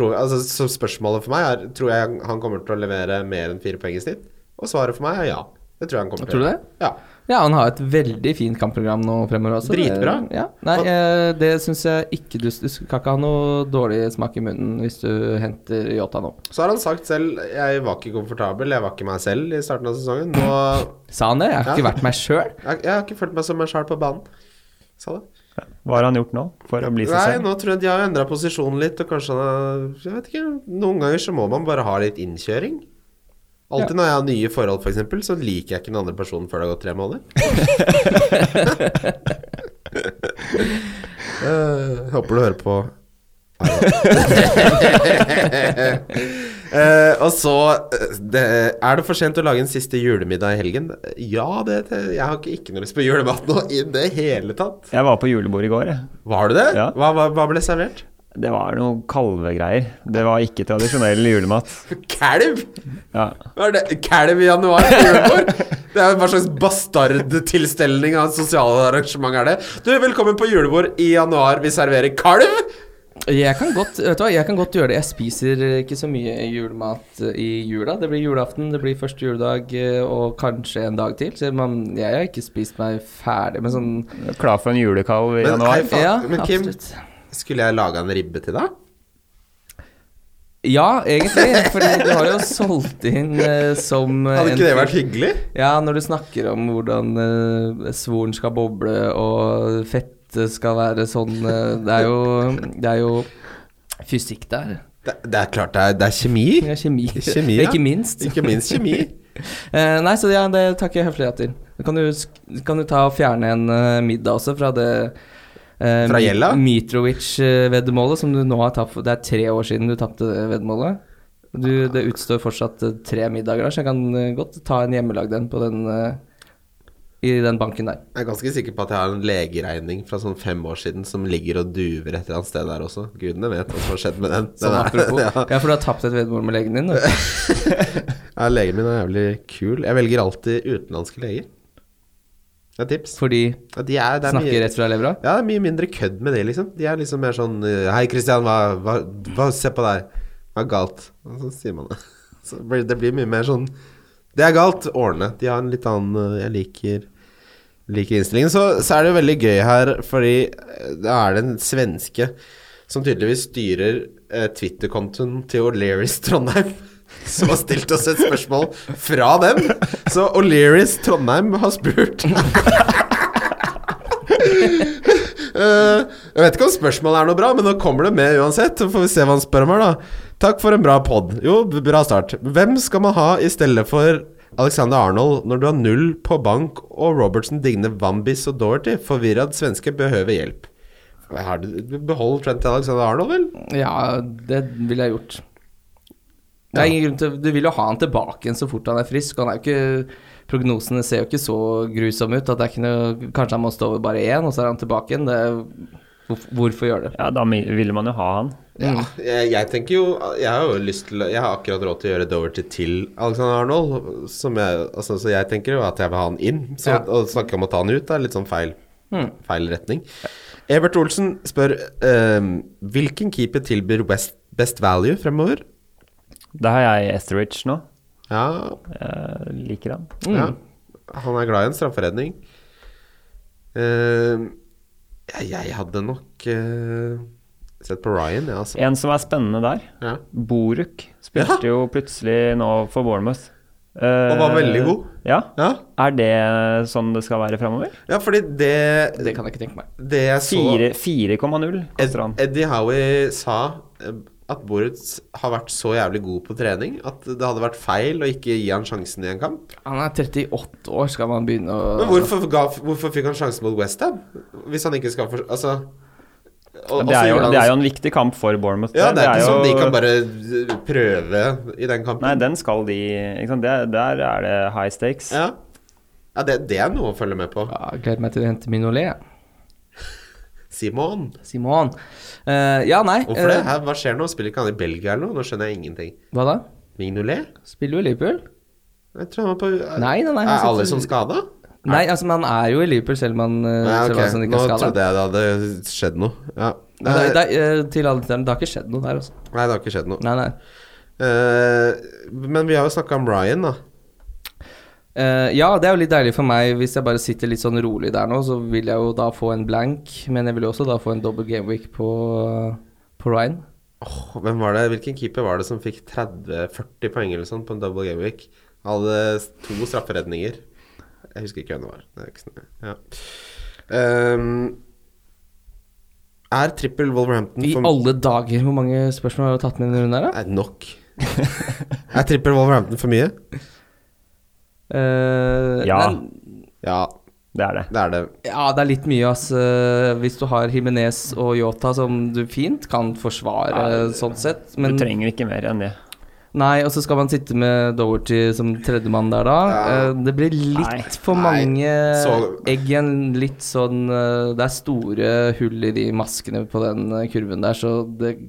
Tror, altså, så spørsmålet for meg er Tror jeg han kommer til å levere mer enn fire poeng i snitt? Og svaret for meg er ja. Det tror jeg han kommer til. Tror du å det? gjøre. Ja. Ja, han har et veldig fint kampprogram nå fremover også. Dritbra. Det, ja. Nei, Og- eh, det syns jeg ikke du, du skal ikke ha noe dårlig smak i munnen hvis du henter Yota nå. Så har han sagt selv Jeg var ikke komfortabel, jeg var ikke meg selv i starten av sesongen. Nå Jeg, Sa han det? Jeg har ikke Ja. vært meg sjøl. jeg har ikke følt meg som meg sjæl på banen. Sa det. Hva har han gjort nå for å bli seg Nei, selv? nå tror jeg de har endra posisjonen litt, og kanskje han har Jeg vet ikke. Noen ganger så må man bare ha litt innkjøring. Alltid når jeg har nye forhold, f.eks., så liker jeg ikke den andre personen før det har gått tre måneder. Eh, håper du hører på. Eh, og så eh, det, Er det for sent å lage en siste julemiddag i helgen? Ja, det, det Jeg har ikke, ikke noe lyst på julemat nå i det hele tatt. Jeg var på julebord i går, jeg. Var du det? Ja. Hva, hva, hva ble servert? Det var noe kalvegreier. Det var ikke tradisjonell julemat. Kalv? Ja. Hva er det? Kalv i januar? på julebord? Det er jo Hva slags bastardtilstelning av sosiale arrangement er det? Du, velkommen på julebord i januar. Vi serverer kalv! Jeg kan godt vet du hva, jeg kan godt gjøre det. Jeg spiser eh, ikke så mye julemat eh, i jula. Det blir julaften, det blir første juledag eh, og kanskje en dag til. Så man, jeg har ikke spist meg ferdig med sånn Klar for en julekalv i Men januar. hei, faen, Ja, men Kim, absolutt. skulle jeg laga en ribbe til deg? Ja, egentlig. For du har jo solgt inn eh, som eh, Hadde en ikke det vært hyggelig? Ja, når du snakker om hvordan eh, svoren skal boble og fettet skal være sånn eh, Det er jo, det er jo fysikk der. Det, det er klart det er, det er kjemi. Ja, kjemi. Kjemi, ja. Ikke minst. Ikke minst kjemi. Eh, nei, så ja, det takker jeg høflig ja til. Da Kan du, sk- kan du ta og fjerne en eh, middag også fra det eh, Fra Mi- gjelda? Mitrovic-veddemålet som du nå har tapt for- Det er tre år siden du tapte det veddemålet. Du, det utstår fortsatt eh, tre middager der, så jeg kan eh, godt ta en hjemmelagd en på den eh, i den banken der. Jeg er ganske sikker på at jeg har en legeregning fra sånn fem år siden som ligger og duver et eller annet sted der også. Gudene vet hva som har skjedd med den. Sånn Den er- apropos. ja. Ja. for du har tapt et veddemål med legen din. da. Ja, legen min er jævlig kul. Jeg velger alltid utenlandske leger. Det er tips. Fordi Ja, de er, det er Snakker mye, rett fra levra. ja, det er mye mindre kødd med det, liksom. De er liksom mer sånn eh, Hei, Christian, hva, hva, hva Se på deg. Hva er galt? Og så sier man det. Så blir, det blir mye mer sånn Det er galt. Årene. De har en litt annen eh, Jeg liker liker innstillingen. Så, så er det jo veldig gøy her, fordi eh, da er det en svenske som tydeligvis styrer eh, Twitter-kontoen til O'Learys Trondheim. som har stilt oss et spørsmål fra dem. Så O'Learys Trondheim har spurt Eh, jeg vet ikke om spørsmålet er noe bra, men nå kommer det med uansett. Så får vi se hva han spør om her, da. Takk for en bra pod. Jo, b- bra start. Hvem skal man ha i stedet for Alexander Arnold når du har null på bank og Robertson digner Wambis og Dorothy? Forvirrad svenske behøver hjelp. Har du- du Behold Trent til Alexander Arnold, vel? Ja, det ville jeg gjort. Det er ingen grunn til, du vil jo ha han tilbake igjen så fort han er frisk. Han er jo ikke, prognosene ser jo ikke så grusomme ut. At det er ikke noe, kanskje han må stå over bare én, og så er han tilbake igjen. Det, er- hvorf- hvorfor gjøre det? Ja, da mi- ville man jo ha han. Ja, jeg, jeg tenker jo Jeg har jo lyst til Jeg har akkurat råd til å gjøre Doverty til Alexander Arnold. Som jeg, altså, så jeg tenker jo at jeg vil ha han inn. Så Ja. å snakke om å ta han ut er litt sånn feil, feil retning. Evert Olsen spør ehm, hvilken keeper tilbyr best, best value fremover? Da har jeg Etheridge nå. Ja, Jeg liker han. ja. Han er glad i en strafferedning. Ehm, ja, jeg hadde nok eh, sett på Ryan, jeg, ja, altså. En som er spennende der, Ja. Boruk, spilte jo plutselig nå for Bournemouth. Eh, Og var veldig god. Ja. Ja. Er det sånn det skal være framover? ja, fordi det Det kan jeg ikke tenke meg. Det jeg så 4,0 koster han. Ed, Eddie Howie sa eh, at Boruts har vært så jævlig god på trening at det hadde vært feil å ikke gi han sjansen i en kamp. Han er 38 år, skal man begynne å Men hvorfor, ga, hvorfor fikk han sjansen mot Westham? Hvis han ikke skal for... Altså og- Det og så er, jo, gjorde han- det er jo en viktig kamp for Bournemouth. Ja, det er ikke sånn de jo- kan bare eh, prøve i den kampen. Nei, den skal de ikke sant? Der, der er det high stakes. Ja, ja det, det er noe å følge med på. ja, jeg Gleder meg til å hente Minolet. Simon, Simon. Eh, ja, nei. hvorfor det? eh, Her, hva skjer nå? Spiller ikke han i Belgia eller noe? Nå skjønner jeg ingenting. hva da? Mignolet? Spiller jo i Liverpool? Jeg tror han var på Nei, nei, nei, han Er sitter- alle som skada? Nei, altså, men han er jo i Liverpool, selv om han, eh, Ja, selv om ok. han ikke Nå er skada. trodde jeg det hadde skjedd noe. Ja. Nei, Nei, det, nei, det, eh, til alle lytterne, det har ikke skjedd noe der, altså. det har ikke skjedd noe. Nei, nei. Eh, men vi har jo snakka om Ryan, da. Eh, ja, det er jo litt deilig for meg hvis jeg bare sitter litt sånn rolig der nå, så vil jeg jo da få en blank, men jeg vil jo også da få en double gameweek på, på Ryan. Åh, hvem var det? Hvilken keeper var det som fikk 30-40 poeng eller sånn på en double game week? Han hadde to strafferedninger. Jeg husker ikke hvem det var. Det er ikke så nøye. ja. Ehm, er trippel Wolverhampton I alle dager, hvor mange spørsmål har du tatt med i denne runden her, da? Er det nok? er trippel Wolverhampton for mye? Eh, Ja. men- Ja, Det er det. det er det. Ja, det er litt mye, ass. Eh, Hvis du har Jimenez og Yota, som du fint kan forsvare Nei, sånn sett, Du men trenger ikke mer enn det. Nei, og så skal man sitte med Doherty som tredjemann der da. Ja. Eh, Det blir litt Nei. for Nei. mange Så- egg igjen. Litt sånn eh, Det er store hull i de maskene på den eh, kurven der, så det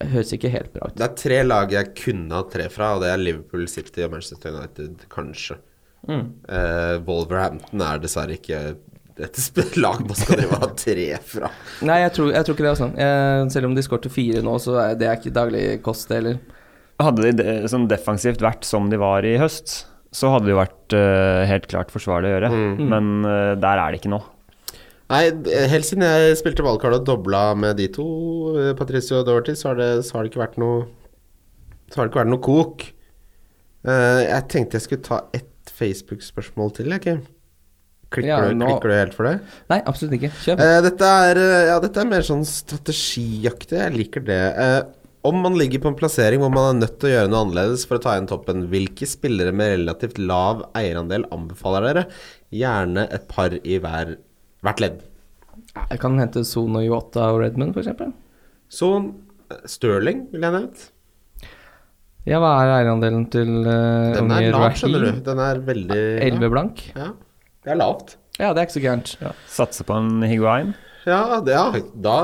høres ikke helt bra ut. Det er tre lag jeg kunne hatt tre fra, og det er Liverpool City og Manchester United, kanskje. Mm. Eh, Wolverhampton er dessverre ikke et sp- lag man skal drive og ha tre fra. Nei, jeg tror, jeg tror ikke det. Altså. Eh, selv om de skårte fire nå, så er det ikke daglig kost, det heller. Hadde de de sånn defensivt vært som de var i høst, så hadde det jo vært eh, helt klart forsvarlig å gjøre. Mm. Men eh, der er det ikke nå. Nei, d- helt siden jeg spilte valgkart og dobla med de to, eh, Patricio og Doherty, så har det, så har det ikke vært noe Så har det ikke vært noe kok. Eh, jeg tenkte jeg skulle ta ett Facebook-spørsmål til, jeg, Kim. Klikker, Ja, du, nå- klikker du helt for det? Nei, absolutt ikke. Kjøp. Eh, dette, er, eh, ja, dette er mer sånn strategiaktig. Jeg liker det. Eh, om man ligger på en plassering hvor man er nødt til å gjøre noe annerledes for å ta igjen toppen, hvilke spillere med relativt lav eierandel anbefaler dere? Gjerne et par i hver, hvert ledd. Eh. Jeg kan hente Son og Yota og Redmond, f.eks. Son, eh, Stirling ville jeg nevnt. Ja, hva er eierandelen til uh, Den er lav, skjønner du. Den er veldig lav. 11 blank? Ja. Det er lavt. Ja, det er ikke så gærent. Satse på en higuain. Ja, det, ja, da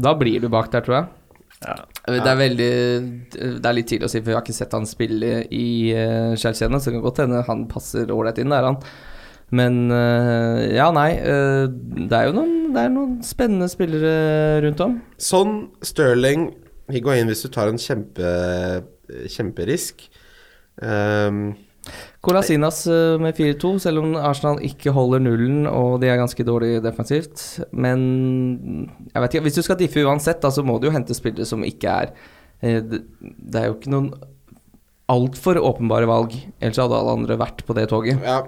Da blir du bak der, tror jeg. Ja. Det er veldig Det er litt tidlig å si, for jeg har ikke sett han spille i eh, Chelsea ennå, så det kan godt hende han passer ålreit inn der, han. Men eh, ja, nei. eh, det er jo noen, det er noen spennende spillere rundt om. Sånn, Stirling Higuain, hvis du tar en kjempe, kjemperisk Ehm, Colasinas eh, med 4-2, selv om Arsenal ikke holder nullen og de er ganske dårlige defensivt. Men jeg vet ikke, hvis du skal diffe uansett, da, så må du jo hente spillere som ikke er eh, det, det er jo ikke noen altfor åpenbare valg. Ellers hadde alle andre vært på det toget. Ja,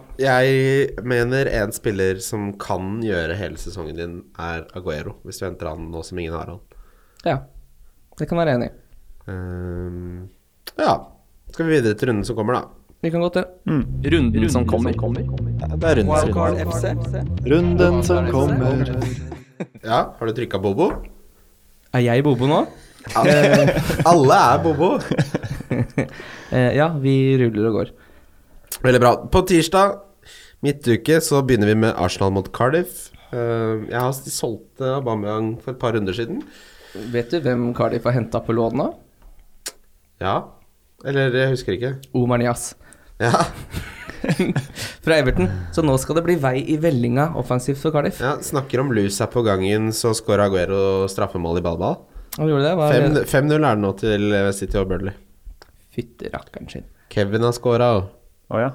jeg mener en spiller som kan gjøre hele sesongen din, er Aguero. Hvis du henter han nå som ingen har han. Ja, det kan være enig i. Ehm, ja. Skal vi videre til runden som kommer, da. Vi kan godt det. Mm. Runden som kommer. Ja, Det er runden Wildcard som kommer. FC. Runden som kommer. Ja, har du trykka Bobo? Er jeg Bobo nå? Alle er Bobo. Eh, ja, vi ruller og går. Veldig bra. På tirsdag midtuke så begynner vi med Arsenal mot Cardiff. Ehm, jeg har solgt Aubameyang for et par runder siden. Vet du hvem Cardiff har henta på lån nå? Ja. Eller jeg husker ikke. Omar Nias. Ja, Fra Everton. Så nå skal det bli vei i vellinga offensivt for Cardiff. ja Snakker om lus her på gangen, så scorer Aguero straffemål i ballball. Og gjorde det, var Fem- 5-0 er det nå til eh, City og Burnley. Fytti rakkeren sin. Kevin har scora òg. Å ja.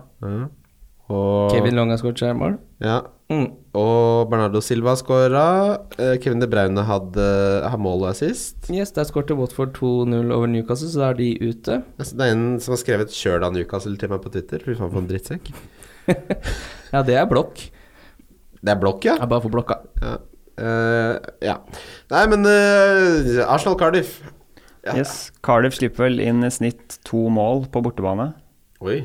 Og, Kevin Long har skåret seg mål. ja. Mm. og Bernardo Silva har scora. Kevin De Braune hadde har mål og assist. Yes, der skårte Watford 2-0 over Newcastle, så da er de ute. Altså, det er en som har skrevet 'Kjør da Newcastle' til meg på Twitter. Fy faen, for en drittsekk. Ja, det er blokk. Det er blokk, ja. Jeg bare for blokka. ja. Eh, ja. Nei, men eh, Arsenal Cardiff. Ja. Yes. Cardiff slipper vel inn i snitt to mål på bortebane. Oi,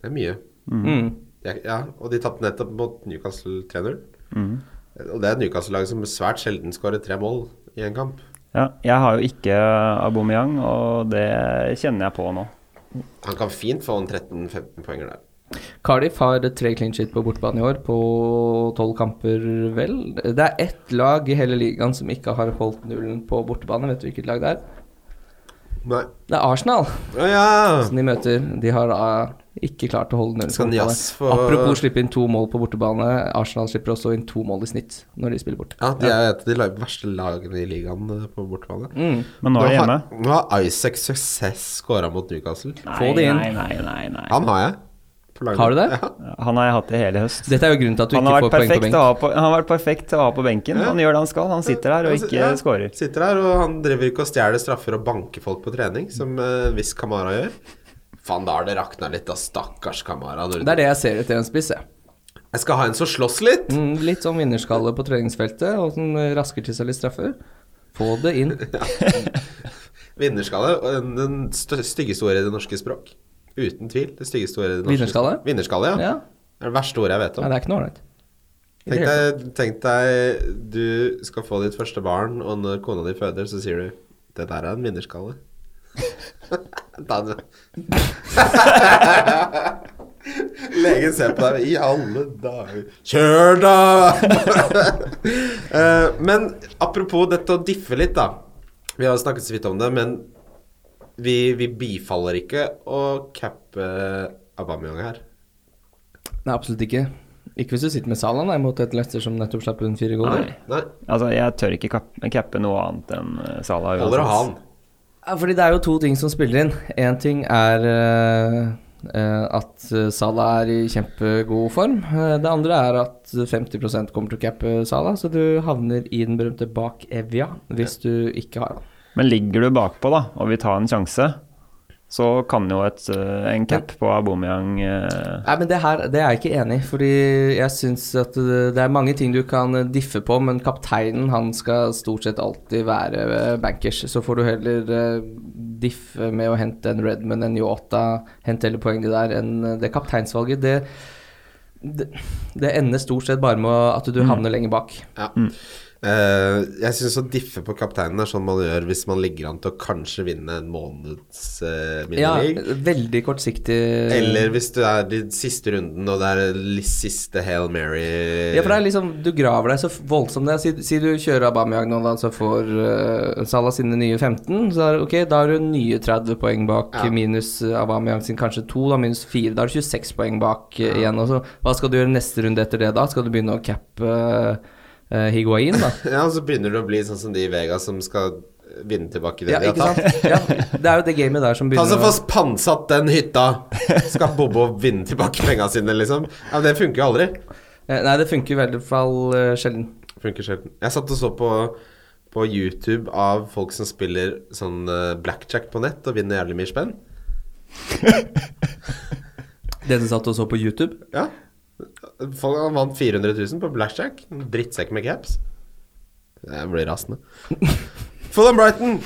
det er mye. Mm. Ja, ja, og de tapte nettopp mot Newcastle 3-0. Og det er et Newcastle-lag som svært sjelden skårer tre mål i en kamp. Ja, jeg har jo ikke Aubameyang, og det kjenner jeg på nå. Han kan fint få en 13-15 poenger der. Cardiff har tre clean shit på bortebane i år, på tolv kamper, vel. Det er ett lag i hele ligaen som ikke har holdt nullen på bortebane. Vet du hvilket lag det er? Nei. Det er Arsenal Å ja! som de møter. De har da ikke klart å holde nullen. på Skal bortebane. Nias få Apropos slippe inn to mål på bortebane. Arsenal slipper også inn to mål i snitt når de spiller bort. Ja, de er et av de la- verste lagene i ligaen eh, på bortebane. Mm. Men nå er jeg hjemme. har, nå har Isaac Success scora mot Newcastle. Få det inn. Nei, nei, nei, nei. Han har jeg. på laget. Har du det? Ja. Han har jeg hatt i hele høst. Dette er jo grunnen til at du Han har, ikke vært får poeng på perfekt å benk. ha på, han har vært perfekt til å ha på benken. Ja. Han gjør det han skal. Han sitter der og ikke Ja, scorer. Sitter der, og han driver ikke og stjeler straffer og banker folk på trening, som eh, en viss Kamara gjør. Faen, da har det rakna litt, da. Stakkars Kamara. når du- Det er det jeg ser etter en spiss, jeg. Jeg skal ha en som slåss litt! Mm, litt sånn vinnerskalle på treningsfeltet, og sånn eh, rasker til seg litt straffer. Få det inn. Vinnerskalle. og Den, den stø- styggeste ordet i det norske språk. Uten tvil. Det styggeste ordet i det norske Vinnerskalle? språk. Vinnerskalle, ja. Ja. Det er det verste ordet jeg vet Nei, om. det er ikke noe ålreit. I tenk, det hele deg, tenk deg du skal få ditt første barn, og når kona di føder, så sier du Det der er en vinnerskalle. da Legen ser på deg i alle dager Kjør, da! Eh, men apropos dette å diffe litt, da. Vi har snakket så vidt om det, men vi, vi bifaller ikke å cappe Aubameyang her. Nei, absolutt ikke. Ikke hvis du sitter med Salah, nei, mot et Leicester som nettopp slapp inn fire goller. Nei, Altså, jeg tør ikke kap- cappe noe annet enn eh, Salah. holder å ha han. Ja, fordi det er jo to ting som spiller inn. Én ting er eh, eh, at eh, Salah er i kjempegod form. Eh, det andre er at 50 kommer til å cappe Salah, så du havner i den berømte bak Evja hvis du ikke har han. Men ligger du bakpå, da, og vil ta en sjanse, så kan jo et, eh, en cap på Aubameyang eh, Nei, men det her det er jeg ikke enig i. Fordi jeg syns at eh, det det er mange ting du kan eh, diffe på, men kapteinen han skal stort sett alltid være eh, bankers. Så får du heller eh, diffe med å hente en Redman, en Yota, hente heller poeng de der enn eh, det kapteinsvalget. Det, det, det ender stort sett bare med at du havner lenger bak. Ja. Eh, jeg syns å diffe på kapteinen er sånn man gjør hvis man ligger an til å kanskje vinne en måneds uh, Ja, eh, minileague. veldig kortsiktig Eller hvis du er i siste runden og det er li- siste Hail Mary Ja, for det er liksom, du graver deg så voldsomt ned. Si, si du kjører Aubameyang nå, da, så får eh, Salah sine nye 15. Så er, det- ok, da har du nye 30 poeng bak, Ja. minus eh, Aubameyang sin kanskje 2, da minus 4. Da har du 26 poeng bak eh, igjen. Og så, hva skal du gjøre neste runde etter det, da? Skal du begynne å cappe eh, Higuain, da? Ja, og så begynner det å bli sånn som de i Vegas som skal eh, vinne tilbake det Ja, de ikke har tatt. sant? Ja, det er jo det gamet der som Ta så begynner få pantsatt den hytta! Skal Bobo vinne tilbake penga sine, liksom? Ja, men Det funker jo aldri. Eh, Nei, det funker i hvert fall eh, sjelden. Funker sjelden. Jeg satt og så på på YouTube av folk som spiller sånn eh, blackjack på nett og vinner jævlig mye spenn. Den som satt og så på YouTube? Ja. Folk, han vant 400 000 på blackjack. En Drittsekk med caps. Jeg blir rasende. Fulham Brighton!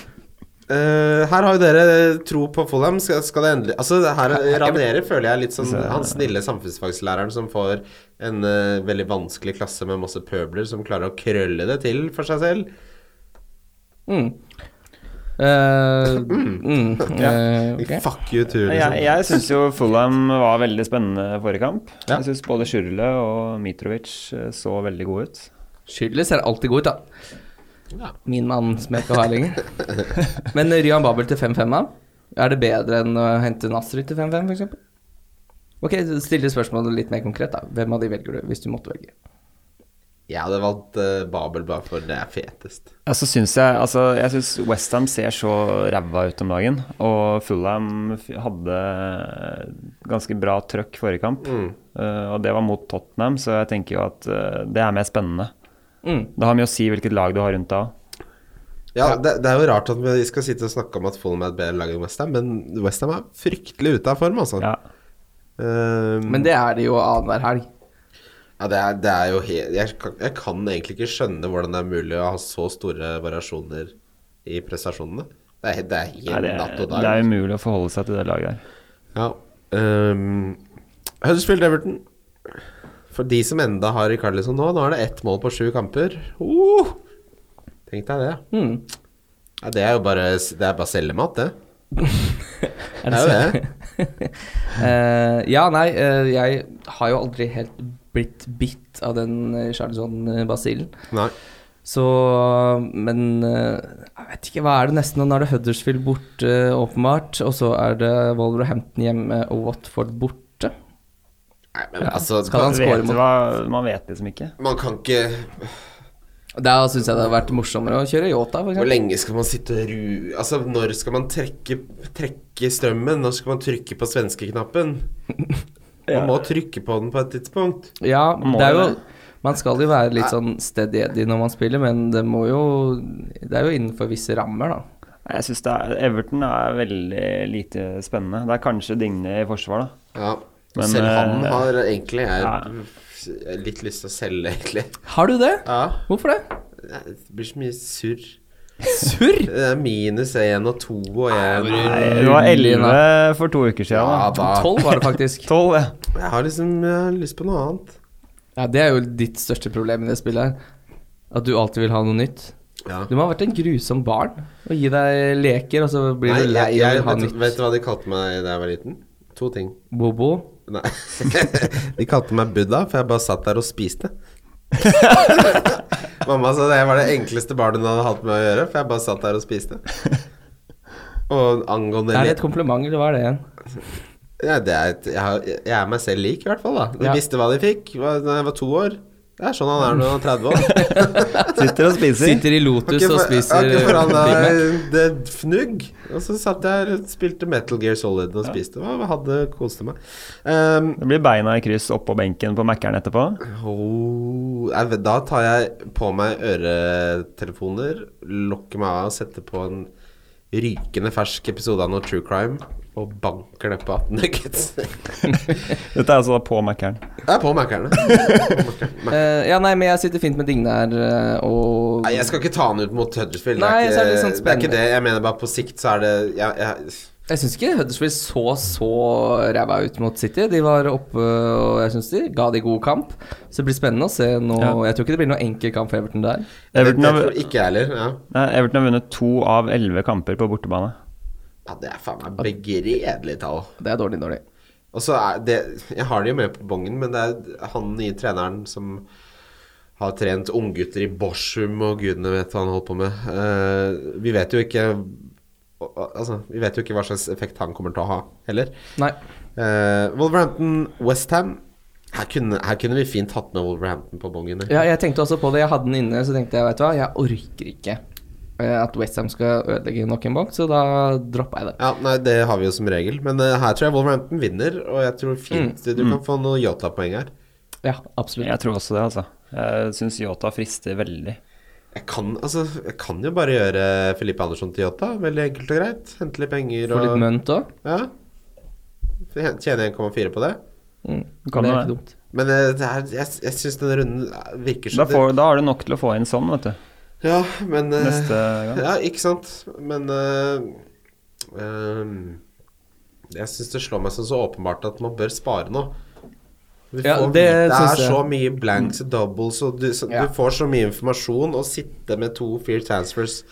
Eh, her har jo dere tro på Fulham. Skal, skal det endelig Altså, det her Ranere føler jeg er litt sånn han snille samfunnsfagslæreren som får en eh, veldig vanskelig klasse med masse pøbler, som klarer å krølle det til for seg selv. Mm. Eh, mm, eh, ok. Fuck you, Tur. Jeg, Liksom. jeg syns jo Fulham var veldig spennende forrige kamp. Ja. Jeg syns både Schürrle og Mitrovic eh, så veldig gode ut. Schürrle ser alltid god ut, da. Min mann som jeg ikke har lenger. Men Ryan Babel til 5-5, da? Er det bedre enn å hente Nasri til 5-5, f.eks.? Ok, stille spørsmålet litt mer konkret, da. Hvem av de velger du, hvis du måtte velge? Jeg hadde valgt eh, Babel bare for det er fetest. Altså, synes jeg altså, jeg syns Westham ser så ræva ut om dagen. Og Fulham f- hadde ganske bra trøkk forrige kamp. Mm. Eh, og det var mot Tottenham, så jeg tenker jo at eh, det er mer spennende. Mm. Det har mye å si hvilket lag du har rundt deg òg. Ja, det, det er jo rart at vi skal sitte og snakke om at Fulham er et bedre lag enn Westham, men Westham er fryktelig ute av form, altså. Ja. Ehm, Men det er det jo annenhver helg. ja, det, er, det er jo helt jeg, kan- jeg kan egentlig ikke skjønne hvordan det er mulig å ha så store variasjoner i prestasjonene. Det er, det er helt Nei, Det, natt og dag. altså. det er umulig å forholde seg til det laget der. Ja. ehm, Huddersfield Everton. For de som enda har Rikarlison nå, nå er det ett mål på sju kamper. Uh! Tenk deg det. Mm. Ja, det er jo bare, det er bare selgemat, det. Det er jo det. Eh, ja, nei, eh, jeg har jo aldri helt blitt bitt av den eh, Charlesson-basillen. Nei. Så Men eh, jeg vet ikke, hva er det nesten? Nå er det Huddersfield borte, åpenbart. Og så er det Wolverhampton hjemme og Watford borte. Nei, men altså Skal han Man score vet, mot- hva, man vet liksom ikke. Man kan ikke Da syns jeg det hadde vært morsommere å kjøre Yota, for Hvor eksempel. lenge skal man sitte og ru... Altså, når skal man trekke, trekke strømmen? Når skal man trykke på svenskeknappen? Man må trykke på den på et tidspunkt. Ja, Må det er jo det? Man skal jo være litt sånn steady eddy når man spiller, men det må jo Det er jo innenfor visse rammer, da. Jeg synes det er, Everton er veldig lite spennende. Det er kanskje Digne i forsvar, da. Ja. Men, Selv han eh, har egentlig jeg, ja. jeg har litt lyst til å selge, egentlig. Har du det? Ja. Hvorfor det? Det blir så mye surr. Surr! Det er minus én og to og én. Det var 11 for to uker siden. Ja, da. da. Tolv var det faktisk. 12, ja. Jeg har liksom jeg har lyst på noe annet. Ja, Det er jo ditt største problem i det spillet her. At du alltid vil ha noe nytt. Ja. Du må ha vært en grusom barn og gi deg leker, og så blir Nei, du lei jeg, og jeg, vil ha vet, nytt. vet du hva de kalte meg da jeg var liten? To ting. Bobo. Nei. De kalte meg Buddha, for jeg bare satt der og spiste. Mamma sa det var det enkleste barnet hun hadde hatt med å gjøre, for jeg bare satt der og spiste. Og angående Er det le- et kompliment, eller hva er det igjen? ja, det er et, jeg, har- jeg er meg selv lik, i hvert fall. da De Ja. visste hva de fikk hva- da jeg var to år. Det er sånn han er når han er 30 år. Sitter og spiser. Sitter i Lotus Ikke og for- spiser ikke for han Big Mac. er- det er fnugg. Og så satt jeg og spilte Metal Gear Solid og spiste. Og hadde koste meg. Um, Det blir beina i kryss oppå benken på Mækkern etterpå. Oh, jeg vet- da tar jeg på meg øretelefoner, lokker meg av og setter på en rykende fersk episode av noe true crime og banker det på 18 nuggets. Jeg Dette er altså på Mækkern. er på Mækkerne. Nei, Eh, ja, nei, men jeg sitter fint med Digne her, eh, og jeg skal ikke ta han ut mot Huddersfield. Nei, det, så er er det ikke, litt det sånn er ikke spennende. det. Jeg mener bare på sikt så er det jeg, jeg, Jeg syns ikke Huddersfield så så ræva ut mot City. De var oppe, og jeg syns de ga de god kamp. Så det blir spennende å se nå Ja. Jeg tror ikke det blir noen enkel kamp for Everton der. jeg, vet- Everton jeg har, tror Ikke jeg heller. Ja. nei, Everton har vunnet to av 11 kamper på bortebane. ja, det er faen meg begredelig tall. Det er dårlig, dårlig. Og så er det Jeg har det jo med på bongen, men det er han nye treneren som har trent unggutter i Borsum og gudene vet hva han holder på med. Eh, vi vet jo ikke Altså, vi vet jo ikke hva slags effekt han kommer til å ha, heller. Nei. Eh, Wolverhampton, Westham her kunne, her kunne vi fint hatt med Wolverhampton på bongen. Ja, jeg tenkte også på det. Jeg hadde den inne, så tenkte jeg, vet du hva, jeg orker ikke eh, at Westham skal ødelegge nok en bok, så da droppa jeg det. Ja, nei, det har vi jo som regel, men eh, her tror jeg Wolverhampton vinner. Og jeg tror fint du kan få noen Yota-poeng her. Ja, absolutt. Jeg tror også det, altså. Jeg syns Yota frister veldig. Jeg kan, altså, jeg kan jo bare gjøre Felipe Andersson til Jota. Veldig enkelt og greit. Hente litt penger Får og litt mønt òg. Ja. Tjene 1,4 på det. Kan Mm. det jo er det. ikke dumt. Men eh, det er, jeg, jeg syns denne runden Da, virker som får, da har du nok til å få inn sånn, vet du. det Ja, men eh, Neste gang. Ja, ikke sant. Men eh, ehm, Jeg syns det slår meg som så åpenbart at man bør spare nå. Vi Ja, får, det vite- det syns er jeg. så mye blanks og doubles, og du, så, Ja. du får så mye informasjon. Å sitte med to fear transfers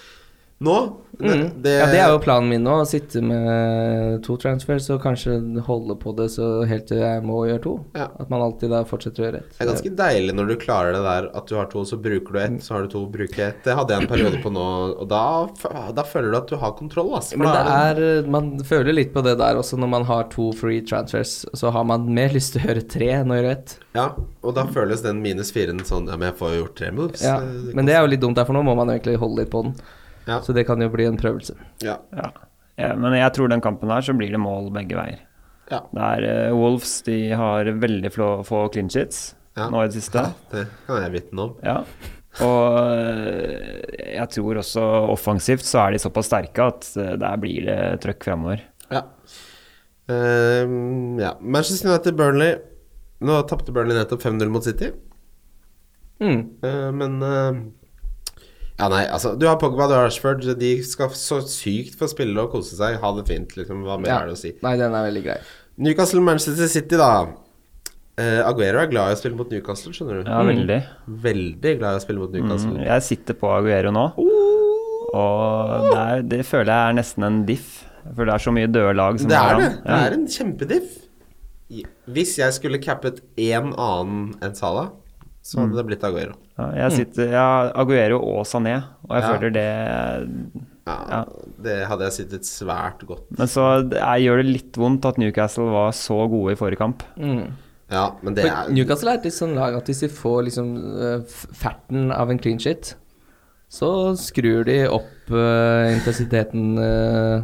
nå det, Mm. ja, det er jo planen min nå. Å sitte med to transfers og kanskje holde på det så helt til jeg må gjøre to. Ja. At man alltid da fortsetter å gjøre ett. Det er ganske deilig når du klarer det der at du har to, så bruker du ett, så har du to, bruker ett. Det hadde jeg en periode på nå, og da, f- da føler du at du har kontroll, altså. Men det er, man føler litt på det der også når man har to free transfers. Så har man mer lyst til å gjøre tre enn å gjøre ett. Ja, og da føles den minus firen sånn Ja, men jeg får jo gjort tre moves. Ja. Eh, Men det er jo litt dumt, derfor nå må man egentlig holde litt på den. Ja. Så det kan jo bli en prøvelse. ja. Ja. Ja, men jeg tror den kampen her så blir det mål begge veier. Ja. Det er eh, Wolves, de har veldig flå, få clinch hits Ja. nå i det siste. Det kan jeg vitne om. Ja. Og eh, jeg tror også offensivt så er de såpass sterke at eh, der blir det trøkk framover. Ja. Ehm, ja. Manchester United Burnley. Nå tapte Burnley nettopp 5-0 mot City, Mm. Eh, men eh, Ja, nei, altså. Du har Pogba og Ashford. De skal så sykt få spille og kose seg. Ha det fint, liksom. Hva mer Ja. er det å si? Nei, den er veldig grei. Newcastle Manchester City, da. Eh, Aguero er glad i å spille mot Newcastle, skjønner du. Mm. Ja, veldig. Veldig glad i å spille mot Newcastle. Oh. Mm, jeg sitter på Aguero nå, og det, er, det føler jeg er nesten en diff. For det er så mye døde lag som Det har er det. han. Det er en kjempediff. I- Hvis jeg skulle cappet én annen enn Salah, så hadde det blitt Aguero. Ja, jeg sitter ja, Aguero og Sané, og jeg Mm. Ja. føler det Ja, Ja. Det hadde jeg sittet svært godt Men så jeg gjør det litt vondt at Newcastle var så gode i forrige kamp. Mm. Ja, men det For er Newcastle er et litt sånn lag at hvis de får liksom eh, f- ferten av en clean shit, så skrur de opp eh, intensiteten eh,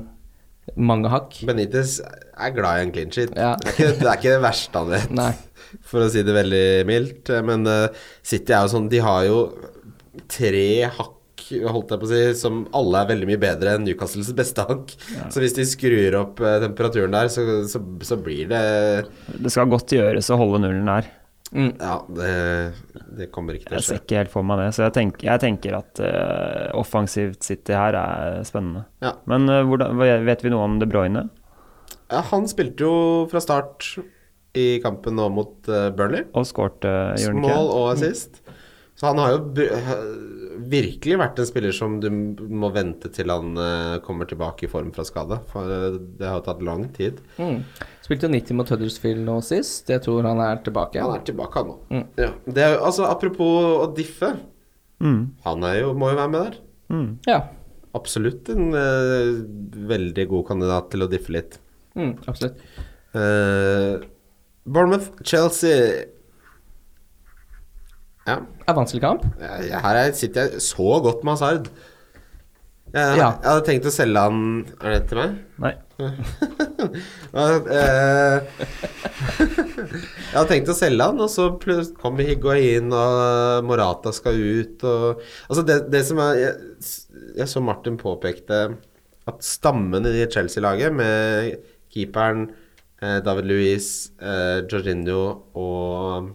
mange hakk. Benitez er glad i en clean sheet. Ja. Det, er ikke, det er ikke det verste han vet, Nei. for å si det veldig mildt. Men eh, City er jo sånn De har jo tre hakk, holdt jeg på å si, som alle er veldig mye bedre enn Newcastles beste hakk. Så hvis de skrur opp eh, temperaturen der, så, så, så blir det Det skal godt gjøres å holde nullen her. Ja, det, det kommer ikke til Jeg å ser skje. ikke helt for meg det. Så jeg tenker, jeg tenker at eh, offensivt City her er spennende. Ja. Men eh, hvordan, hva- vet vi noe om De Bruyne? Ja, han spilte jo fra start i kampen nå mot eh, Burnley. Og skårte, gjør han Mål ikke? og assist. Så han har jo br- h- virkelig vært en spiller som du m- må vente til han eh, kommer tilbake i form fra skade. For eh, det har jo tatt lang tid. Mm. Spilte jo 90 mot Huddersfield nå sist. Jeg tror han er tilbake. Han er tilbake, han nå. Ja. Det er, jo- altså, apropos å diffe. Mm. Han er jo, må jo være med der. Mm. Ja. Absolutt en eh, veldig god kandidat til å diffe litt. Mm, absolutt. Eh, Bournemouth, Chelsea Ja. Det er vanskelig kamp. Jeg- jeg- Her er- sitter jeg så godt med Hazard. Jeg, Ja. jeg hadde tenkt å selge han Er det til meg? Nei. Ja, eh, jeg hadde tenkt å selge han, og så plutselig kom Higuain, og Morata skal ut og Altså, det, det som er jeg, jeg så Martin påpekte at stammen i Chelsea-laget, med keeperen eh, David Luiz, eh, Jorginho og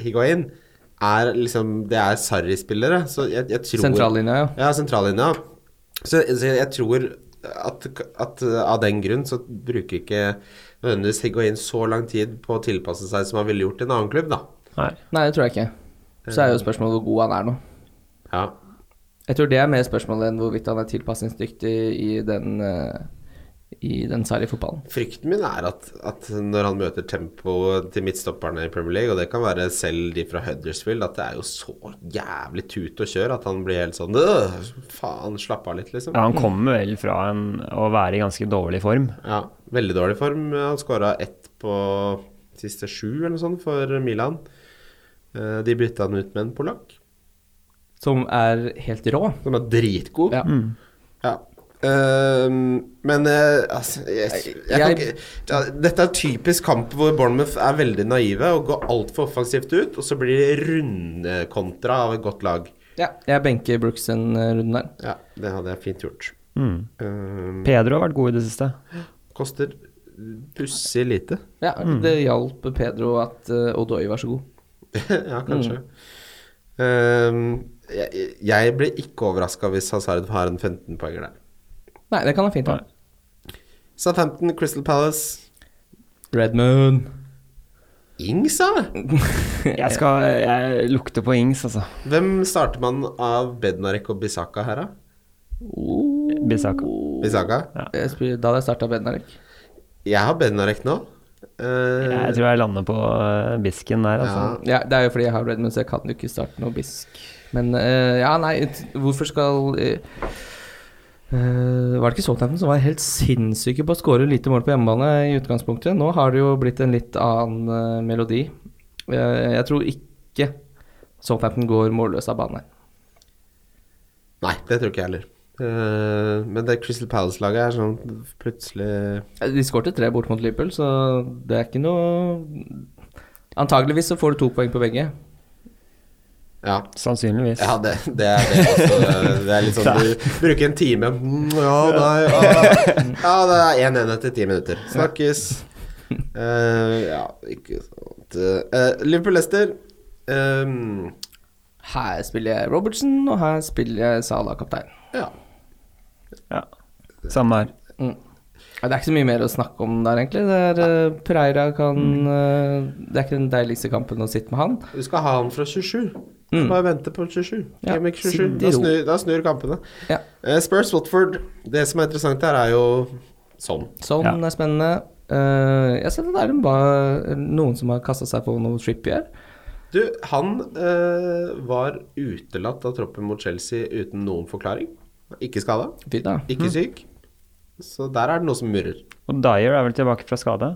Higuain, er liksom Det er Sarri-spillere, så jeg, jeg tror Sentrallinja, ja. ja, sentrallinja. Så, så jeg tror at, at eh, av den grunn så bruker ikke nødvendigvis Higuain så lang tid på å tilpasse seg som han ville gjort i en annen klubb, da. Nei. Nei, det tror jeg ikke. Eh, Så er jo spørsmålet hvor god han er nå. Ja. Jeg tror det er mer spørsmålet enn hvorvidt han er tilpasningsdyktig i den, eh, i den særlige fotballen. Frykten min er at, at når han møter tempoet til midtstopperne i Premier League, og det kan være selv de fra Huddersfield, at det er jo så jævlig tut og kjør at han blir helt sånn «Øh, Faen, slapp av litt, liksom. Ja, han kommer vel fra en, å være i ganske dårlig form. Ja, veldig dårlig form. Han skåra ett på siste sju eller noe sånt for Milan. Eh, De bytta han ut med en polakk, Som er helt rå. som er dritgod. Ja. Ja. Ehm, men eh, altså jeg, jeg, kan Jeg- ikke, ja, Dette er typisk kamp hvor Bournemouth er veldig naive og går altfor offensivt ut, og så blir det rundkontra av et godt lag. Ja, jeg benker Brooks en eh, runde der. Ja, det hadde jeg fint gjort. Mm. Eh, Pedro har vært god i det siste. koster pussig lite. Ja, Det hjalp Pedro at uh, Odoi var så god. ja, kanskje. Eh, jeg, jeg ble ikke overraska hvis Hazard har en 15-poenger der. Nei, det kan han fint ha. Nei. Southampton, Crystal Palace Redmoon. Ings, da? Jeg, skal, jeg lukter på Ings, altså. Hvem starter man av Bednarek og Bisaka her, da? Bisaka. Bisaka? Oh. Jeg spør- Da hadde jeg starta Bednarek. Jeg har Bednarek nå. Eh, Jeg tror jeg lander på eh, bisken der, altså. ja. Ja, det er jo fordi jeg har Redmoon, så jeg kan jo ikke starte noe bisk. Men eh, ja, nei, t- hvorfor skal eh, eh, var det ikke Southampton som var helt sinnssyke på å skåre lite mål på hjemmebane i utgangspunktet? Nå har det jo blitt en litt annen eh, melodi. Eh, jeg tror ikke Southampton går målløs av banen her. Nei, det tror ikke jeg heller. Eh, men det Crystal Palace-laget er sånn plutselig Ja, Eh, De skårte tre bort mot Liverpool, så det er ikke noe Antageligvis så får du to poeng på begge. Ja. Sannsynligvis. Ja, det, det er det også. Det er litt sånn du bruker en time Mm, Ja, nei Ja, ja det er 1-1 etter ti minutter. Snakkes. Eh, ja, ikke sant Eh, ehm, Liverpool-Lester. Her spiller jeg Robertson, og her spiller jeg Salah kaptein. ja. Ja. Samme her. Mm. Ja, det er ikke så mye mer å snakke om der, egentlig. Det er, eh, Pereira kan eh, Det er ikke den deiligste kampen å sitte med han. Du skal ha han fra 27. Mm. Bare vente på 27. Ja, Game week 27. sitt i Da ro. snur, da snur kampene. Ja. Eh, Spurs Watford. Det som er interessant her, er jo sånn. Sånn Ja. er spennende. Eh, jeg ser at det er en ba- noen som har kasta seg på noe Trippier. Du, han eh, var utelatt av troppen mot Chelsea uten noen forklaring. Ikke skada, Fint, da. ikke syk. Så der er det noe som murrer. Og Dyer er vel tilbake fra skade?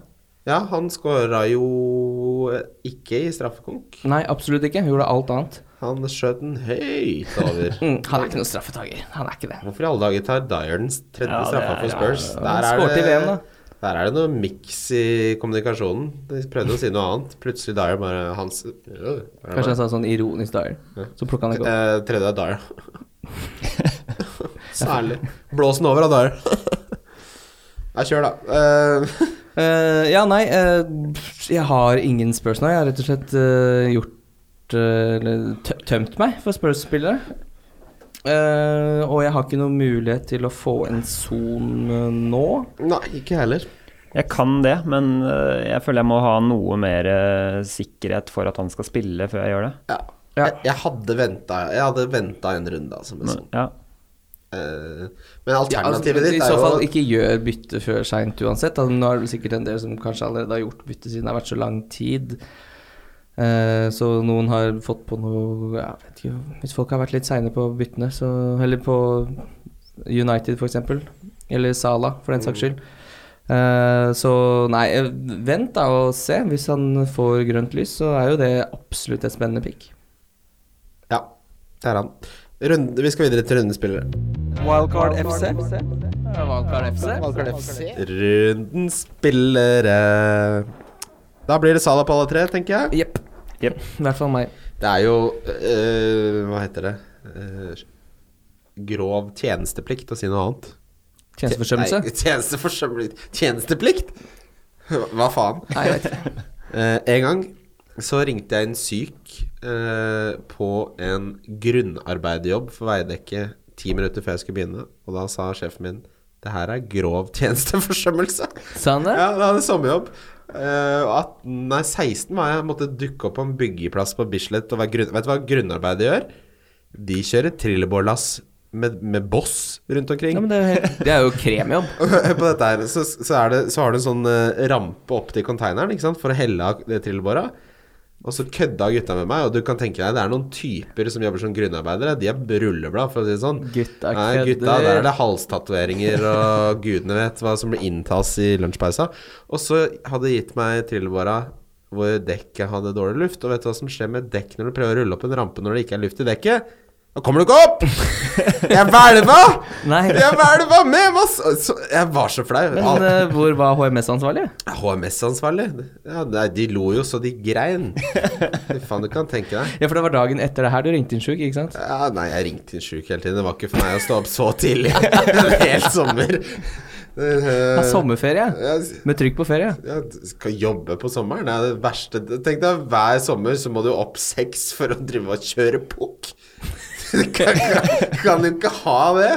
Ja, han skåra jo ikke i straffekonk. Nei, absolutt ikke. Hun gjorde alt annet. Han skjøt den høyt over. Mm, han er ikke noen straffetaker. Han er ikke det. Hvorfor i alle dager tar Dyer den tredje Ja, det straffa er- for Spurs? ja, ja. Han skårte i VM, da. der er det noe miks i kommunikasjonen. De prøvde å si noe annet. Plutselig Dyer bare Hans øh, er det Kanskje bare- han sa sånn ironisk Dyer. Så plukka han ikke opp. Eh, tredje er Dyer. Særlig. Blåsen over av Dyer. Nei, kjør, da. Eh, Eh, ja, nei, eh, jeg har ingen Spurs nå. Jeg har rett og slett eh, gjort eh, Eller tø- tømt meg for Spurs-spillere. Eh, og jeg har ikke noen mulighet til å få en sone nå. nei, ikke jeg heller. Jeg kan det, men eh, jeg føler jeg må ha noe mer eh, sikkerhet for at han skal spille før jeg gjør det. Ja. Ja. Jeg, jeg hadde venta Jeg hadde ventet en runde, altså. Med sånn. Ja. Eh, men Ja, altså, alternativet I ditt så er fall jo ikke gjør bytte før seint uansett. Altså, nå er det sikkert en del som kanskje allerede har gjort bytte siden det har vært så lang tid. Eh, så noen har fått på noe ja, jeg vet ikke, Hvis folk har vært litt seine på byttene, så Eller på United, f.eks. Eller Sala, for den Mm. saks skyld. Eh, så nei, eh, vent da og se. Hvis han får grønt lys, så er jo det absolutt et spennende pick. Ja, der er han. Runde, vi skal videre til rundespillere. Wildcard FC. Wildcard FC. Runden spillere Da blir det Salah på alle tre, tenker jeg. Jepp. Jep. I hvert fall meg. Det er jo eh, Hva heter det? Eh, grov tjenesteplikt å si noe annet. Tjenesteforsømmelse? Nei, tjenesteforsømmelse Tjenesteplikt? Hva faen? Nei, jeg vet ikke. Eh, en gang så ringte jeg inn syk eh, på en grunnarbeiderjobb for Veidekke ti minutter før jeg skulle begynne, og da sa sjefen min det her er grov tjenesteforsømmelse. Sa han det? Ja, da hadde jeg sommerjobb. Eh, og 18, nei, 16 var jeg. Måtte dukke opp på en byggeplass på Bislett. Og være grunn, vet du hva grunnarbeidet gjør? De kjører trillebårlass med, med boss rundt omkring. Ja, men det, er jo helt- det er jo kremjobb. Hør på dette her, så, så, er det, så har du en sånn eh, rampe opp til konteineren ikke sant? for å helle av det trillebåra. Og så kødda gutta med meg, og du kan tenke deg det er noen typer som jobber som grunnarbeidere. De er rulleblad, for å si det sånn. Gutta Nei, gutta, kødder. der er det halstatoveringer og gudene vet hva som blir inntas i lunsjpausa. Og så hadde gitt meg trillebåra hvor dekket hadde dårlig luft. Og vet du hva som skjer med dekk når du prøver å rulle opp en rampe når det ikke er luft i dekket? Nå kommer du ikke opp! Jeg hvelva! Nei. Jeg hvelva med masse så, Jeg var så flau. Men Alt- eh, hvor var HMS-ansvarlig? eh, HMS-ansvarlig? Ja, nei, de lo jo så de grein. Fy faen, du kan tenke deg. Ja, for det var dagen etter det her du ringte inn sjuk, ikke sant? Ja, nei, jeg ringte inn sjuk hele tiden. Det var ikke for meg å stå opp så tidlig en hel sommer. Ja, sommerferie. Jeg Med trykk på ferie. jeg skal jobbe på sommeren. Det er det verste Tenk deg, hver sommer så må du opp seks for å drive og kjøre pukk. Du kan, kan, kan du ikke ha det?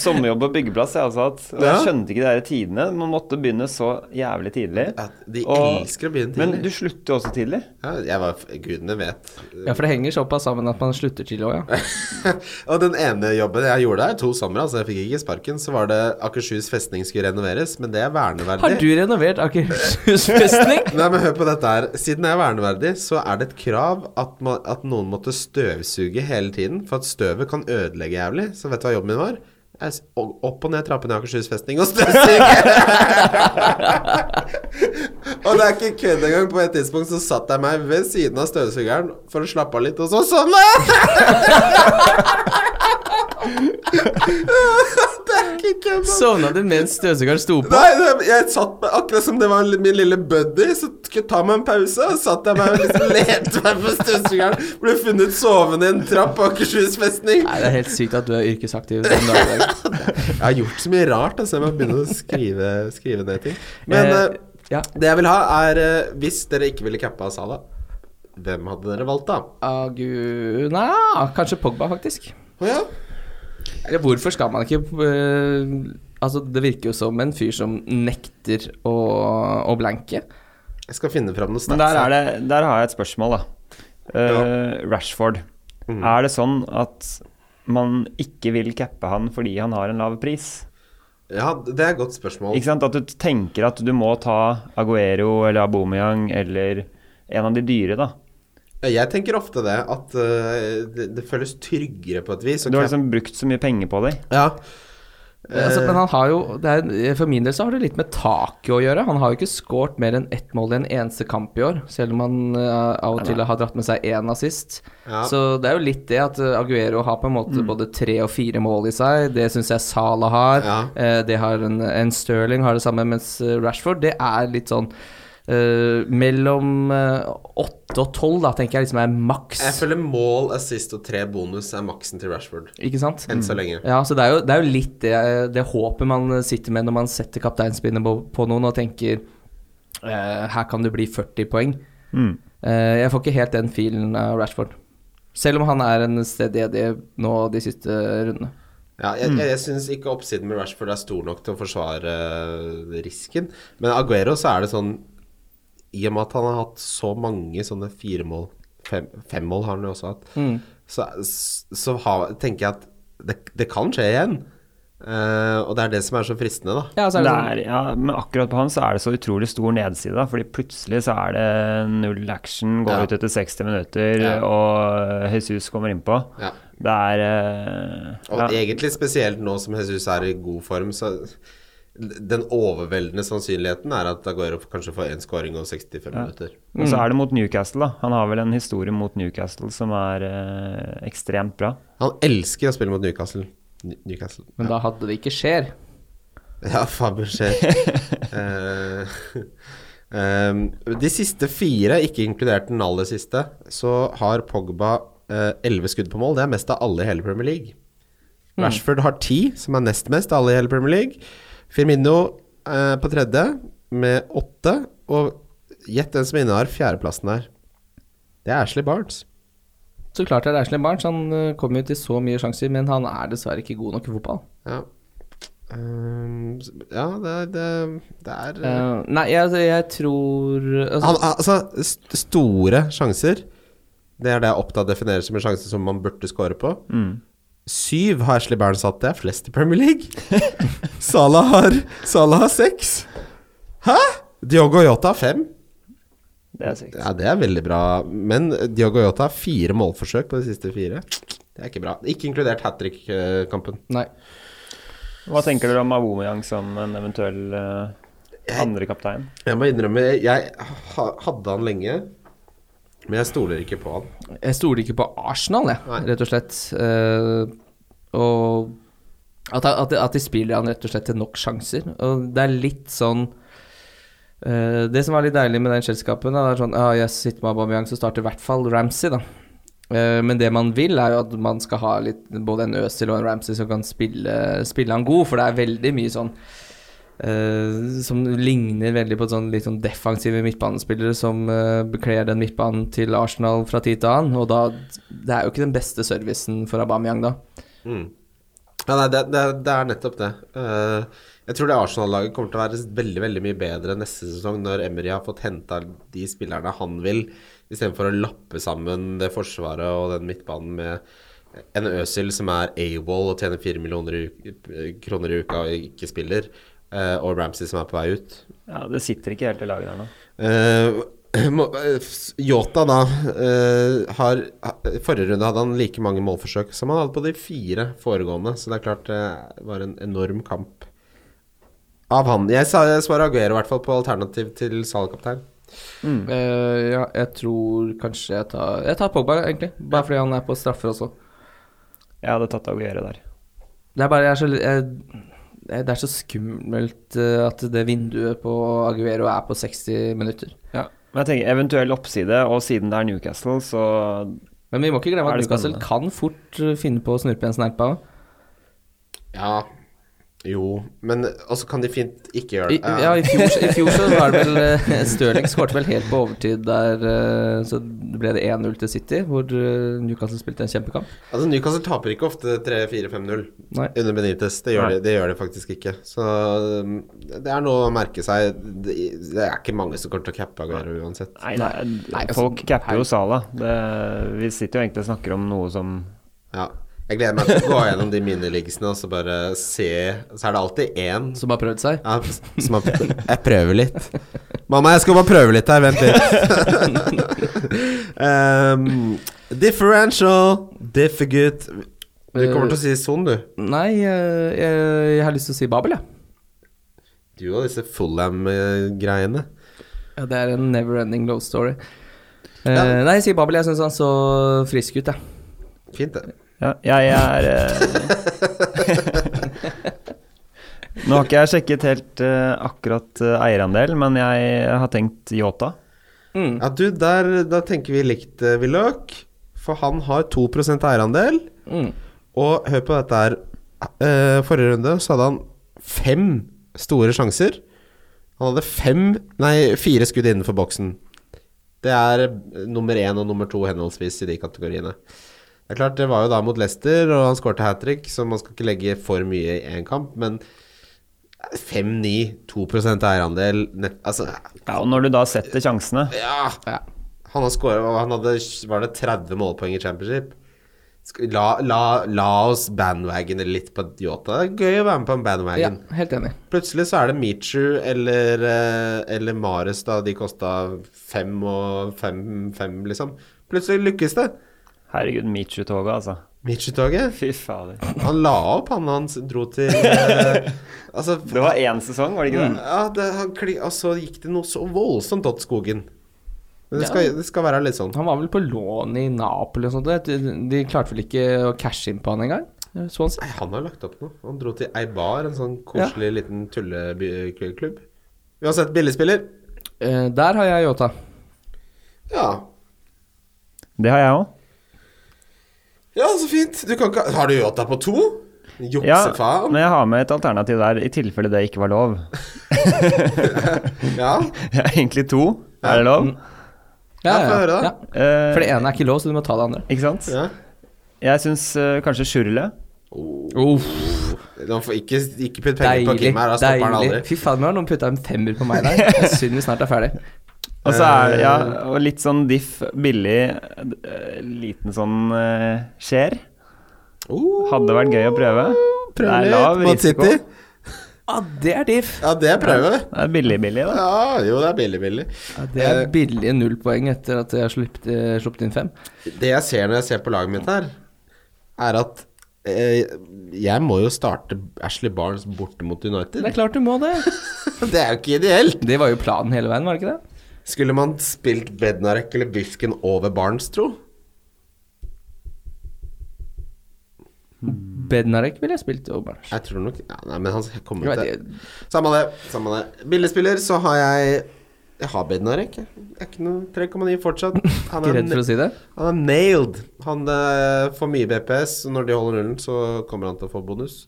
Sommerjobb på byggeplass, jeg også hatt. Og Ja. jeg skjønte ikke de der tidene. Man måtte begynne så jævlig tidlig. Ja, de Og- elsker å begynne Men du tidlig. slutter jo også tidlig. Ja, jeg var, gudene vet. Ja, for det henger såpass sammen at man slutter til òg, ja. og den ene jobben jeg gjorde der, to somre, altså jeg fikk ikke sparken, så var det Akershus festning skulle renoveres, men det er verneverdig. Har du renovert Akershus festning? Nei, men hør på dette her. Siden jeg er verneverdig, så er det et krav at, man, at noen måtte støvsuge hele tiden, for at støvet kan ødelegge jævlig. Så vet du hva jobben min var? Jeg s- o- Opp og ned trappen i Akershus festning og støvsuge! og det er ikke kødd engang. På et tidspunkt så satt jeg meg ved siden av støvsugeren for å slappe av litt, og så sånn! det er ikke kødd. altså. ass. Sovna du mens støvsugeren sto på? Nei, det, jeg satt meg akkurat som det var li- min lille buddy. Så skulle jeg ta meg en pause, og satt jeg meg og liksom lette meg på støvsugeren. Ble funnet sovende i en trapp på Akershus festning. Nei, det er helt sykt at du er yrkesaktiv den dag i dag. Jeg har gjort så mye rart, altså. Jeg må begynne å skrive, skrive ned ting. Men Eh, eh, ja. det jeg vil ha, er eh, Hvis dere ikke ville cappa Sala, hvem hadde dere valgt, da? Agu... Nei, Ah, kanskje Pogba, faktisk. Å ja. Eller hvorfor skal man ikke eh, Altså, det virker jo som en fyr som nekter å, å blanke. Jeg skal finne fram noe Men snacks. der, er her. det, der har jeg et spørsmål, da. Eh, Rashford. Mm. Er det sånn at man ikke vil cappe han fordi han har en lav pris? Ja, det er et godt spørsmål. Ikke sant? At du tenker at du må ta Aguero eller Aubameyang eller en av de dyre, da. Jeg tenker ofte det, at eh, det, det føles tryggere på et vis. Du å har cappe- liksom brukt så mye penger på dem. ja. Eh, Altså, men han har jo det er, For min del så har det litt med taket å gjøre. Han har jo ikke skåret mer enn ett mål i en eneste kamp i år, selv om han eh, av og til har dratt med seg én assist. Ja. Mm. Så det er jo litt det at eh, Aguero har på en måte både tre og fire mål i seg. Det syns jeg Salah har. Ja. Eh, det har en, en Sterling har det samme, mens eh, Rashford det er litt sånn eh, mellom eh, åtte og tolv, da, tenker jeg liksom er maks. Jeg føler mål, assist og tre bonus er maksen til Rashford. Ikke sant? Enn så lenge. Ja, så det er jo, det er jo litt det, det håpet man sitter med når man setter kapteinspinnet på, på noen og tenker eh, her kan det bli 40 poeng. Mm. Eh, jeg får ikke helt den feelen av Rashford. Selv om han er en stedjedig nå de siste rundene. Ja, jeg jeg, jeg syns ikke oppsiden med Rashford er stor nok til å forsvare eh, risken. Men Aguero så er det sånn I og med at han har hatt så mange sånne firemål fem, Femmål har han jo også hatt. Så, så har- tenker jeg at det, det kan skje igjen. Eh, og det er det som er så fristende, da. Ja, så er Det det sånn- er, ja, men akkurat på han så er det så utrolig stor nedside, da, fordi plutselig så er det null action, går Ja. ut etter 60 minutter, Ja. og Jesus kommer innpå. Ja. Det er eh, Og ja. egentlig spesielt nå som Jesus er i god form, så den overveldende sannsynligheten er at Aguero kanskje får én scoring og 65 minutter. Og så er det mot Newcastle, da. Han har vel en historie mot Newcastle som er eh, ekstremt bra. Han elsker å spille mot Newcastle. Ny- Newcastle. Men da hadde det ikke skjer. Ja, Faber skjer. Eh, de siste fire, ikke inkludert den aller siste, så har Pogba eh, elleve skudd på mål. Det er mest av alle i hele Premier League. Rashford har ti, som er nest mest av alle i hele Premier League. Firmino eh, på tredje med åtte. Og gjett den som innehar fjerdeplassen her. Det er Ashley Barnes. Så klart det er Ashley Barnes. Han eh, kommer jo til så mye sjanser, men han er dessverre ikke god nok i fotball. Ja, Ehm, ja det, er- det, det er Eh, nei, jeg, jeg tror altså, Han, altså, st store sjanser Det er det jeg opptatt definerer som en sjanse som man burde score på. Syv har Ashley Barnes hatt, det er flest i Premier League. Salah har Salah har seks. Hæ?! Diogo Yota har fem. Det er sykt. Ja, det er veldig bra, men Diogo Yota har fire målforsøk på de siste fire. Det er ikke bra. Ikke inkludert eh, hat trick-kampen. Nei. Hva tenker dere om Aubameyang som en eventuell eh, andre kaptein? Jeg må innrømme, jeg ha- hadde han lenge, Men jeg stoler ikke på han. Jeg stoler ikke på Arsenal, jeg, Nei. rett og slett. Eh, og at, at, at de spiller han rett og slett til nok sjanser. Og det er litt sånn eh, Det som var litt deilig med den Chelsea-kampen, da, er sånn ah, Jeg sitter med Aubameyang, så starter i hvert fall Ramsey, da. Eh, Men det man vil, er jo at man skal ha litt, både en Øzil og en Ramsey som kan spille, spille han god, for det er veldig mye sånn eh, som ligner veldig på sånn, litt sånn defensive midtbanespillere som eh, bekler den midtbanen til Arsenal fra tid til annen. Og da Det er jo ikke den beste servicen for Aubameyang, da. Mm. Ja, nei, det, det, det er nettopp det. Eh, jeg tror det Arsenal-laget kommer til å være veldig veldig mye bedre neste sesong når Emery har fått henta de spillerne han vil, istedenfor å lappe sammen det forsvaret og den midtbanen med en Øsil som er AWOL og tjener fire millioner i uk- kroner i uka og ikke spiller, eh, og Ramsey som er på vei ut. Ja, Det sitter ikke helt i laget der nå. Eh, må- eh, Jota da eh, har ha- Forrige runde hadde han like mange målforsøk som han hadde på de fire foregående, så det er klart det var en enorm kamp av han. Jeg, sa, jeg svarer Aguero i hvert fall på alternativ til salgkaptein. Mm. Eh, ja, jeg tror kanskje jeg tar Jeg tar Pogba, egentlig. Bare fordi han er på straffer også. Jeg hadde tatt Aguero der. Det er bare jeg er så, jeg, jeg, Det er så skummelt eh, at det vinduet på Aguero er på 60 minutter. Men jeg tenker eventuell oppside, og siden det er Newcastle, så Men vi må ikke glemme Er at det Newcastle spennende? kan fort eh, finne på å snurpe en snerpa. Ja. Jo, men også kan de fint ikke gjøre I, det. ja, i fjor, i fjor så var det vel eh, Stirling skårte vel helt på overtid der eh, Så ble det 1-0 til City, hvor eh, Newcastle spilte en kjempekamp. Altså Newcastle taper ikke ofte 3-4-5-0 Nei. under Benitez. Det gjør, Nei. de, det gjør de faktisk ikke. Så um, det er noe å merke seg. Det det er ikke mange som kommer til å cappe Aguero uansett. Nei, nei, Nei, altså, folk capper nei. jo Sala. Det, vi sitter jo egentlig og snakker om noe som Ja. Jeg gleder meg til å gå gjennom de miniliggsene og så bare se Så er det alltid én som Som har prøvd seg. ja, som har Jeg prøver litt. Mamma, jeg skal bare prøve litt her. Vent litt. um, differential. Differgut. Du kommer til å si Son, du. Nei, eh, jeg, jeg har lyst til å si Babel, jeg. Du og disse Fullham-greiene. Ja, det er en never ending love story. Eh, Ja. Nei, jeg sier Babel. Jeg syns han så frisk ut, jeg. Fint, det. Ja, jeg er eh, Nå har ikke jeg sjekket helt eh, akkurat eh, eierandel, men jeg har tenkt Yota. Ja, du, der, da tenker vi likt, eh, Willoch. For han har 2 eierandel. Mm. Og hør på dette her. Eh, forrige runde så hadde han fem store sjanser. Han hadde fem, nei, fire skudd innenfor boksen. Det er eh, nummer én og nummer to henholdsvis i de kategoriene. Det er klart, det var jo da mot Leicester, og han skårte hat trick, så man skal ikke legge for mye i én kamp, men 5-9, 2 eierandel nett, Altså, Ja, og når du da setter sjansene ja! Ja. Han har skåret, og han hadde Var det 30 målpoeng i championship? Sk- La, la, la oss bandwagone litt på Yota. Det er gøy å være med på en ja, bandwagon. helt enig. Plutselig så er det Michu eller, eh, eller Mares, da. De kosta fem og fem, fem, liksom. Plutselig lykkes det. Herregud, Michu-toget, altså. Michu-toget. Fy fader. Han la opp, han hans dro til eh, Altså Det var én sesong, var det Mm. ikke det? ja, det, han, kli- Og så gikk det noe så voldsomt åt skogen. Men det skal, det skal være litt sånn. Han var vel på lån i Napoli og sånt. De, de klarte vel ikke å cashe inn på han engang? eh, Swansea? Nei, han har lagt opp noe. Han dro til Eibar, en sånn koselig liten tulleklubb. Uansett, billigspiller. Eh, der har jeg Yota. Ja. Det har jeg òg. ja, så fint. Du kan ikke Har du Yota på to? Ja, Juksefaen. men jeg har med et alternativ der, i tilfelle det ikke var lov. Ja, Jeg har egentlig to. Er det lov? Ja, få høre da. Eh, For det ene er ikke lov, så du må ta det andre. Ikke sant? ja. Jeg syns eh, kanskje Sjurle. Man får ikke, ikke putte penger på Deilig. Kim her, da stopper han deilig. aldri. Fy faen, nå har noen putta en femmer på meg der. Det er Synd vi snart er ferdig. Og så er ja, og litt sånn diff, billig, eh, liten sånn eh, skjer. Uh, Hadde vært gøy å prøve. Det prøv er litt lav mot risiko. City. Ja, Ah, det er diff. Ja, det prøver vi. Det er billig-billig, da. Ja, jo, det er billig-billig. Ja, det Eh, er billige null poeng etter at jeg har sluppet, eh, sluppet inn fem. Det jeg ser når jeg ser på laget mitt her, er at eh, jeg må jo starte Ashley Barnes borte mot United. Det er klart du må det. Det er jo ikke ideelt. Det var jo planen hele veien, var det ikke det? Skulle man spilt Bednarek eller Bisken over Barnes, tro? Bednarek ville jeg spilt over Barnes. Jeg tror nok ja, Nei, men han kommer ut Jeg vet til Samme det. Samme det. Billigspiller, så har jeg Jeg har Bednarek. Jeg Jeg er ikke noe 3,9 fortsatt. Han Ikke redd for å si det. Han er nailed. Han eh, får mye BPS, og når de holder nullen, så kommer han til å få bonus.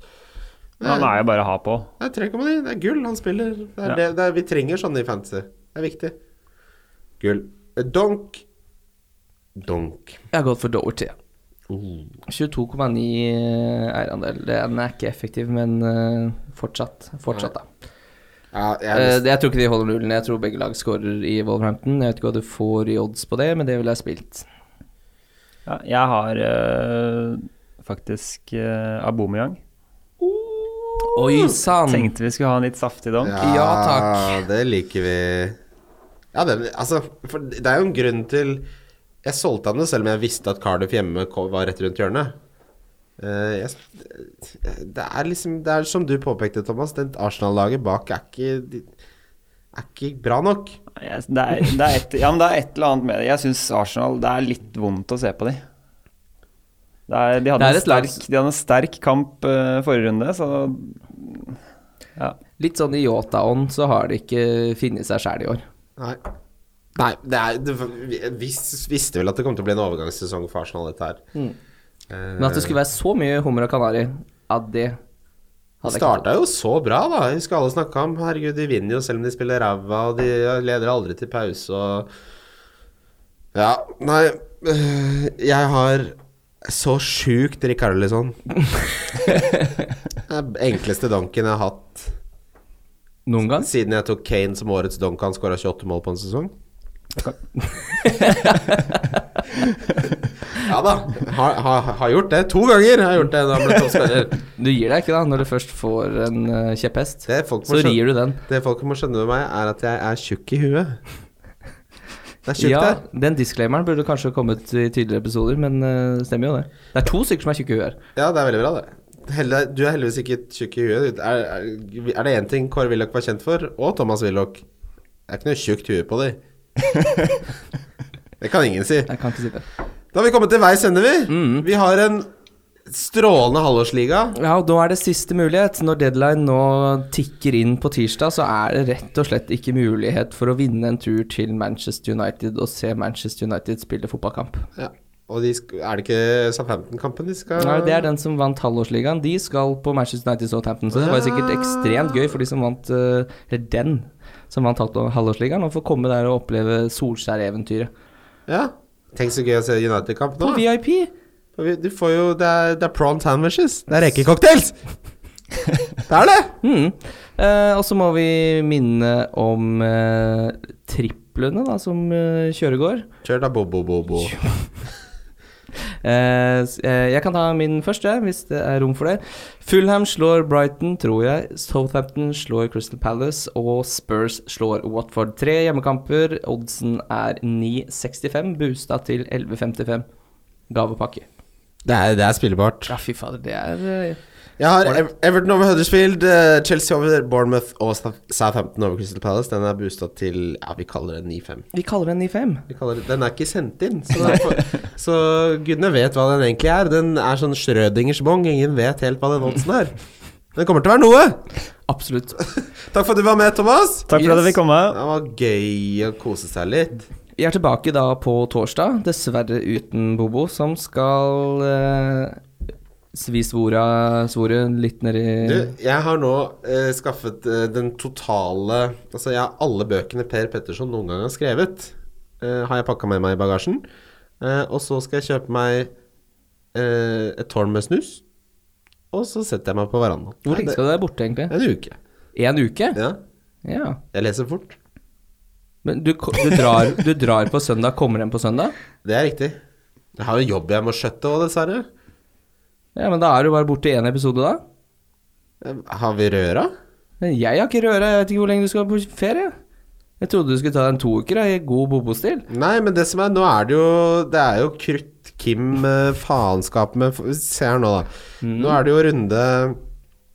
Men han er jo bare å ha på. Det er 3,9. Det er gull han spiller. Det er Ja. det, det er, vi trenger sånne i fantasy. Det er viktig. Gull. Eh, Donk. Donk. Jeg har gått for Doverty. ja. Uh. 22,9 eh, eierandel. Den er ikke effektiv, men eh, fortsatt. Fortsatt, da. Ja, jeg er Eh, nesten- det- jeg tror ikke de holder nullen. Jeg tror begge lag skårer i Wolverhampton. Jeg vet ikke hva du får i odds på det, men det ville jeg spilt. Ja, jeg har eh, faktisk uh, Aubameyang. Oi sann! Tenkte vi skulle ha en litt saftig dom. ja, Ja, takk. Det liker vi. Ja, det, altså, for det er jo en grunn til Jeg solgte han jo selv om jeg visste at Cardiff hjemme kom- var rett rundt hjørnet. Eh, jeg, det er liksom Det er som du påpekte, Thomas. Det Arsenal-laget bak er ikke, de, er ikke bra nok. Jeg- Det er, det er, et, ja, men det er et eller annet med det. Jeg syns Arsenal Det er litt vondt å se på de. Det er, de, hadde Det er en et lag- sterk, de hadde en sterk kamp eh, forrige runde, så Litt sånn i Yota-ånd så har de ikke funnet seg sjæl i år. Nei. Nei, det er det, vi- Vi visste vel at det kom til å bli en overgangssesong for Arsenal, dette her. Eh, Men at det skulle være så mye hummer og kanari, ja, det Det hadde jeg ikke trodd. starta jo så bra, da. Jeg husker alle snakka om Herregud, de vinner jo selv om de spiller ræva, og de leder aldri til pause og Ja, nei øh, Jeg har så sjukt Rick Arlison. Den enkleste donken jeg har hatt Noen gang? siden jeg tok Kane som årets donk. Han skåra 28 mål på en sesong. ja da. Har har- har gjort det to ganger. Har jeg gjort det da jeg ble toppspiller. Du gir deg ikke, da, når du først får en eh, kjepphest. Det folk må Så skjønne- rir du den. Det folk må skjønne med meg, er at jeg er tjukk i huet. Det er tjukt Ja, her. den disclaimeren burde kanskje kommet i tidligere episoder, men eh, det stemmer jo det. Det er to stykker som er tjukke i huet her. Ja, det er veldig bra, det. Helle, du er heldigvis ikke tjukk i huet. Er, er, er det én ting Kåre Willoch var kjent for, og Thomas Willoch Det er ikke noe tjukt hue på dem. det kan ingen si. Jeg kan ikke si det. Da har vi kommet til veis ende, vi. Mm. Vi har en strålende halvårsliga. Ja, og nå er det siste mulighet. Når deadline nå tikker inn på tirsdag, så er det rett og slett ikke mulighet for å vinne en tur til Manchester United og se Manchester United spille fotballkamp. Ja. Og de, sk- er det ikke Southampton-kampen de skal Nei, det er den som vant halvårsligaen. De skal på Manchester United Southampton, så det var jo sikkert ekstremt gøy for de som vant eh, Eller den som vant halv- halvårsligaen, å få komme der og oppleve Solskjær-eventyret. Ja. Tenk så gøy å se United-kamp nå. På VIP! For vi- Du får jo Det er, det er prawn sandwiches. Det er rekecocktails! det er det! Mm. Eh, og så må vi minne om eh, triplene da, som eh, kjøregår. Kjør da, bo-bo-bo-bo. Eh, s- eh, jeg kan ta min første, hvis det er rom for det. Fulham slår Brighton, tror jeg. Southampton slår Crystal Palace. Og Spurs slår Watford. Tre hjemmekamper. Oddsen er 9,65. Boosta til 11,55. Gavepakke. Det er, det er spillbart. Ja, fy fader, det er eh, Jeg har Ev- Everton over Huddersfield, eh, Chelsea over Bournemouth og Sou- Southampton over Crystal Palace. Den er boosta til Ja, vi kaller det 9-5. Vi kaller den 9,5. Vi kaller det- Den er ikke sendt inn, så, den er for, så gudene vet hva den egentlig er. Den er sånn Schrødingers bong. Ingen vet helt hva den oddsen er. Den kommer til å være noe! Absolutt. Takk for at du var med, Thomas. Takk for at jeg fikk komme. Det var gøy å kose seg litt. Vi er tilbake da på torsdag, dessverre uten Bobo, som skal eh, svi svora, svoret litt nedi Du, jeg har nå eh, skaffet eh, den totale Altså, jeg har alle bøkene Per Petterson noen gang har skrevet, eh, har jeg pakka med meg i bagasjen. Eh, og så skal jeg kjøpe meg eh, et tårn med snus, og så setter jeg meg på verandaen. Hvor lenge skal du være borte, egentlig? En uke. En uke? Ja. Ja. Jeg leser fort. Men du, ko- du, drar, du drar på søndag, kommer hjem på søndag? Det er riktig. Jeg har jo jobb jeg må skjøtte òg, dessverre. Ja, men da er du bare borte i én episode, da? Eh, Har vi røra? Men jeg har ikke røra, jeg vet ikke hvor lenge du skal på ferie. Jeg trodde du skulle ta deg en to uker da, i god Bobo-stil. Nei, men det som er Nå er det jo Det er jo Mhm. krutt Kim eh, faenskap med Se her nå, da. Nå er det jo runde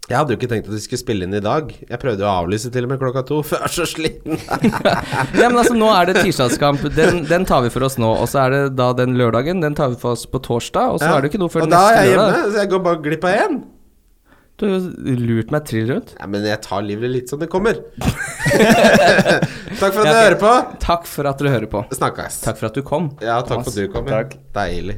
Jeg hadde jo ikke tenkt at vi skulle spille inn i dag. Jeg prøvde å avlyse til og med klokka to, for jeg er så sliten. Ja, men altså, nå er det tirsdagskamp. Den, den tar vi for oss nå. Og så er det da den lørdagen. Den tar vi for oss på torsdag, og så er det jo ikke noe før Og da er neste jeg hjemme, lørdag. så jeg går bare glipp av én. Du har jo lurt meg trill rundt. Nei, men jeg tar livet litt som det kommer. takk for at du Ja, ok. hører på. Takk for at dere hører på. Snakkes. Takk for at du kom. Ja, takk for at du kom. ja. Takk. Deilig.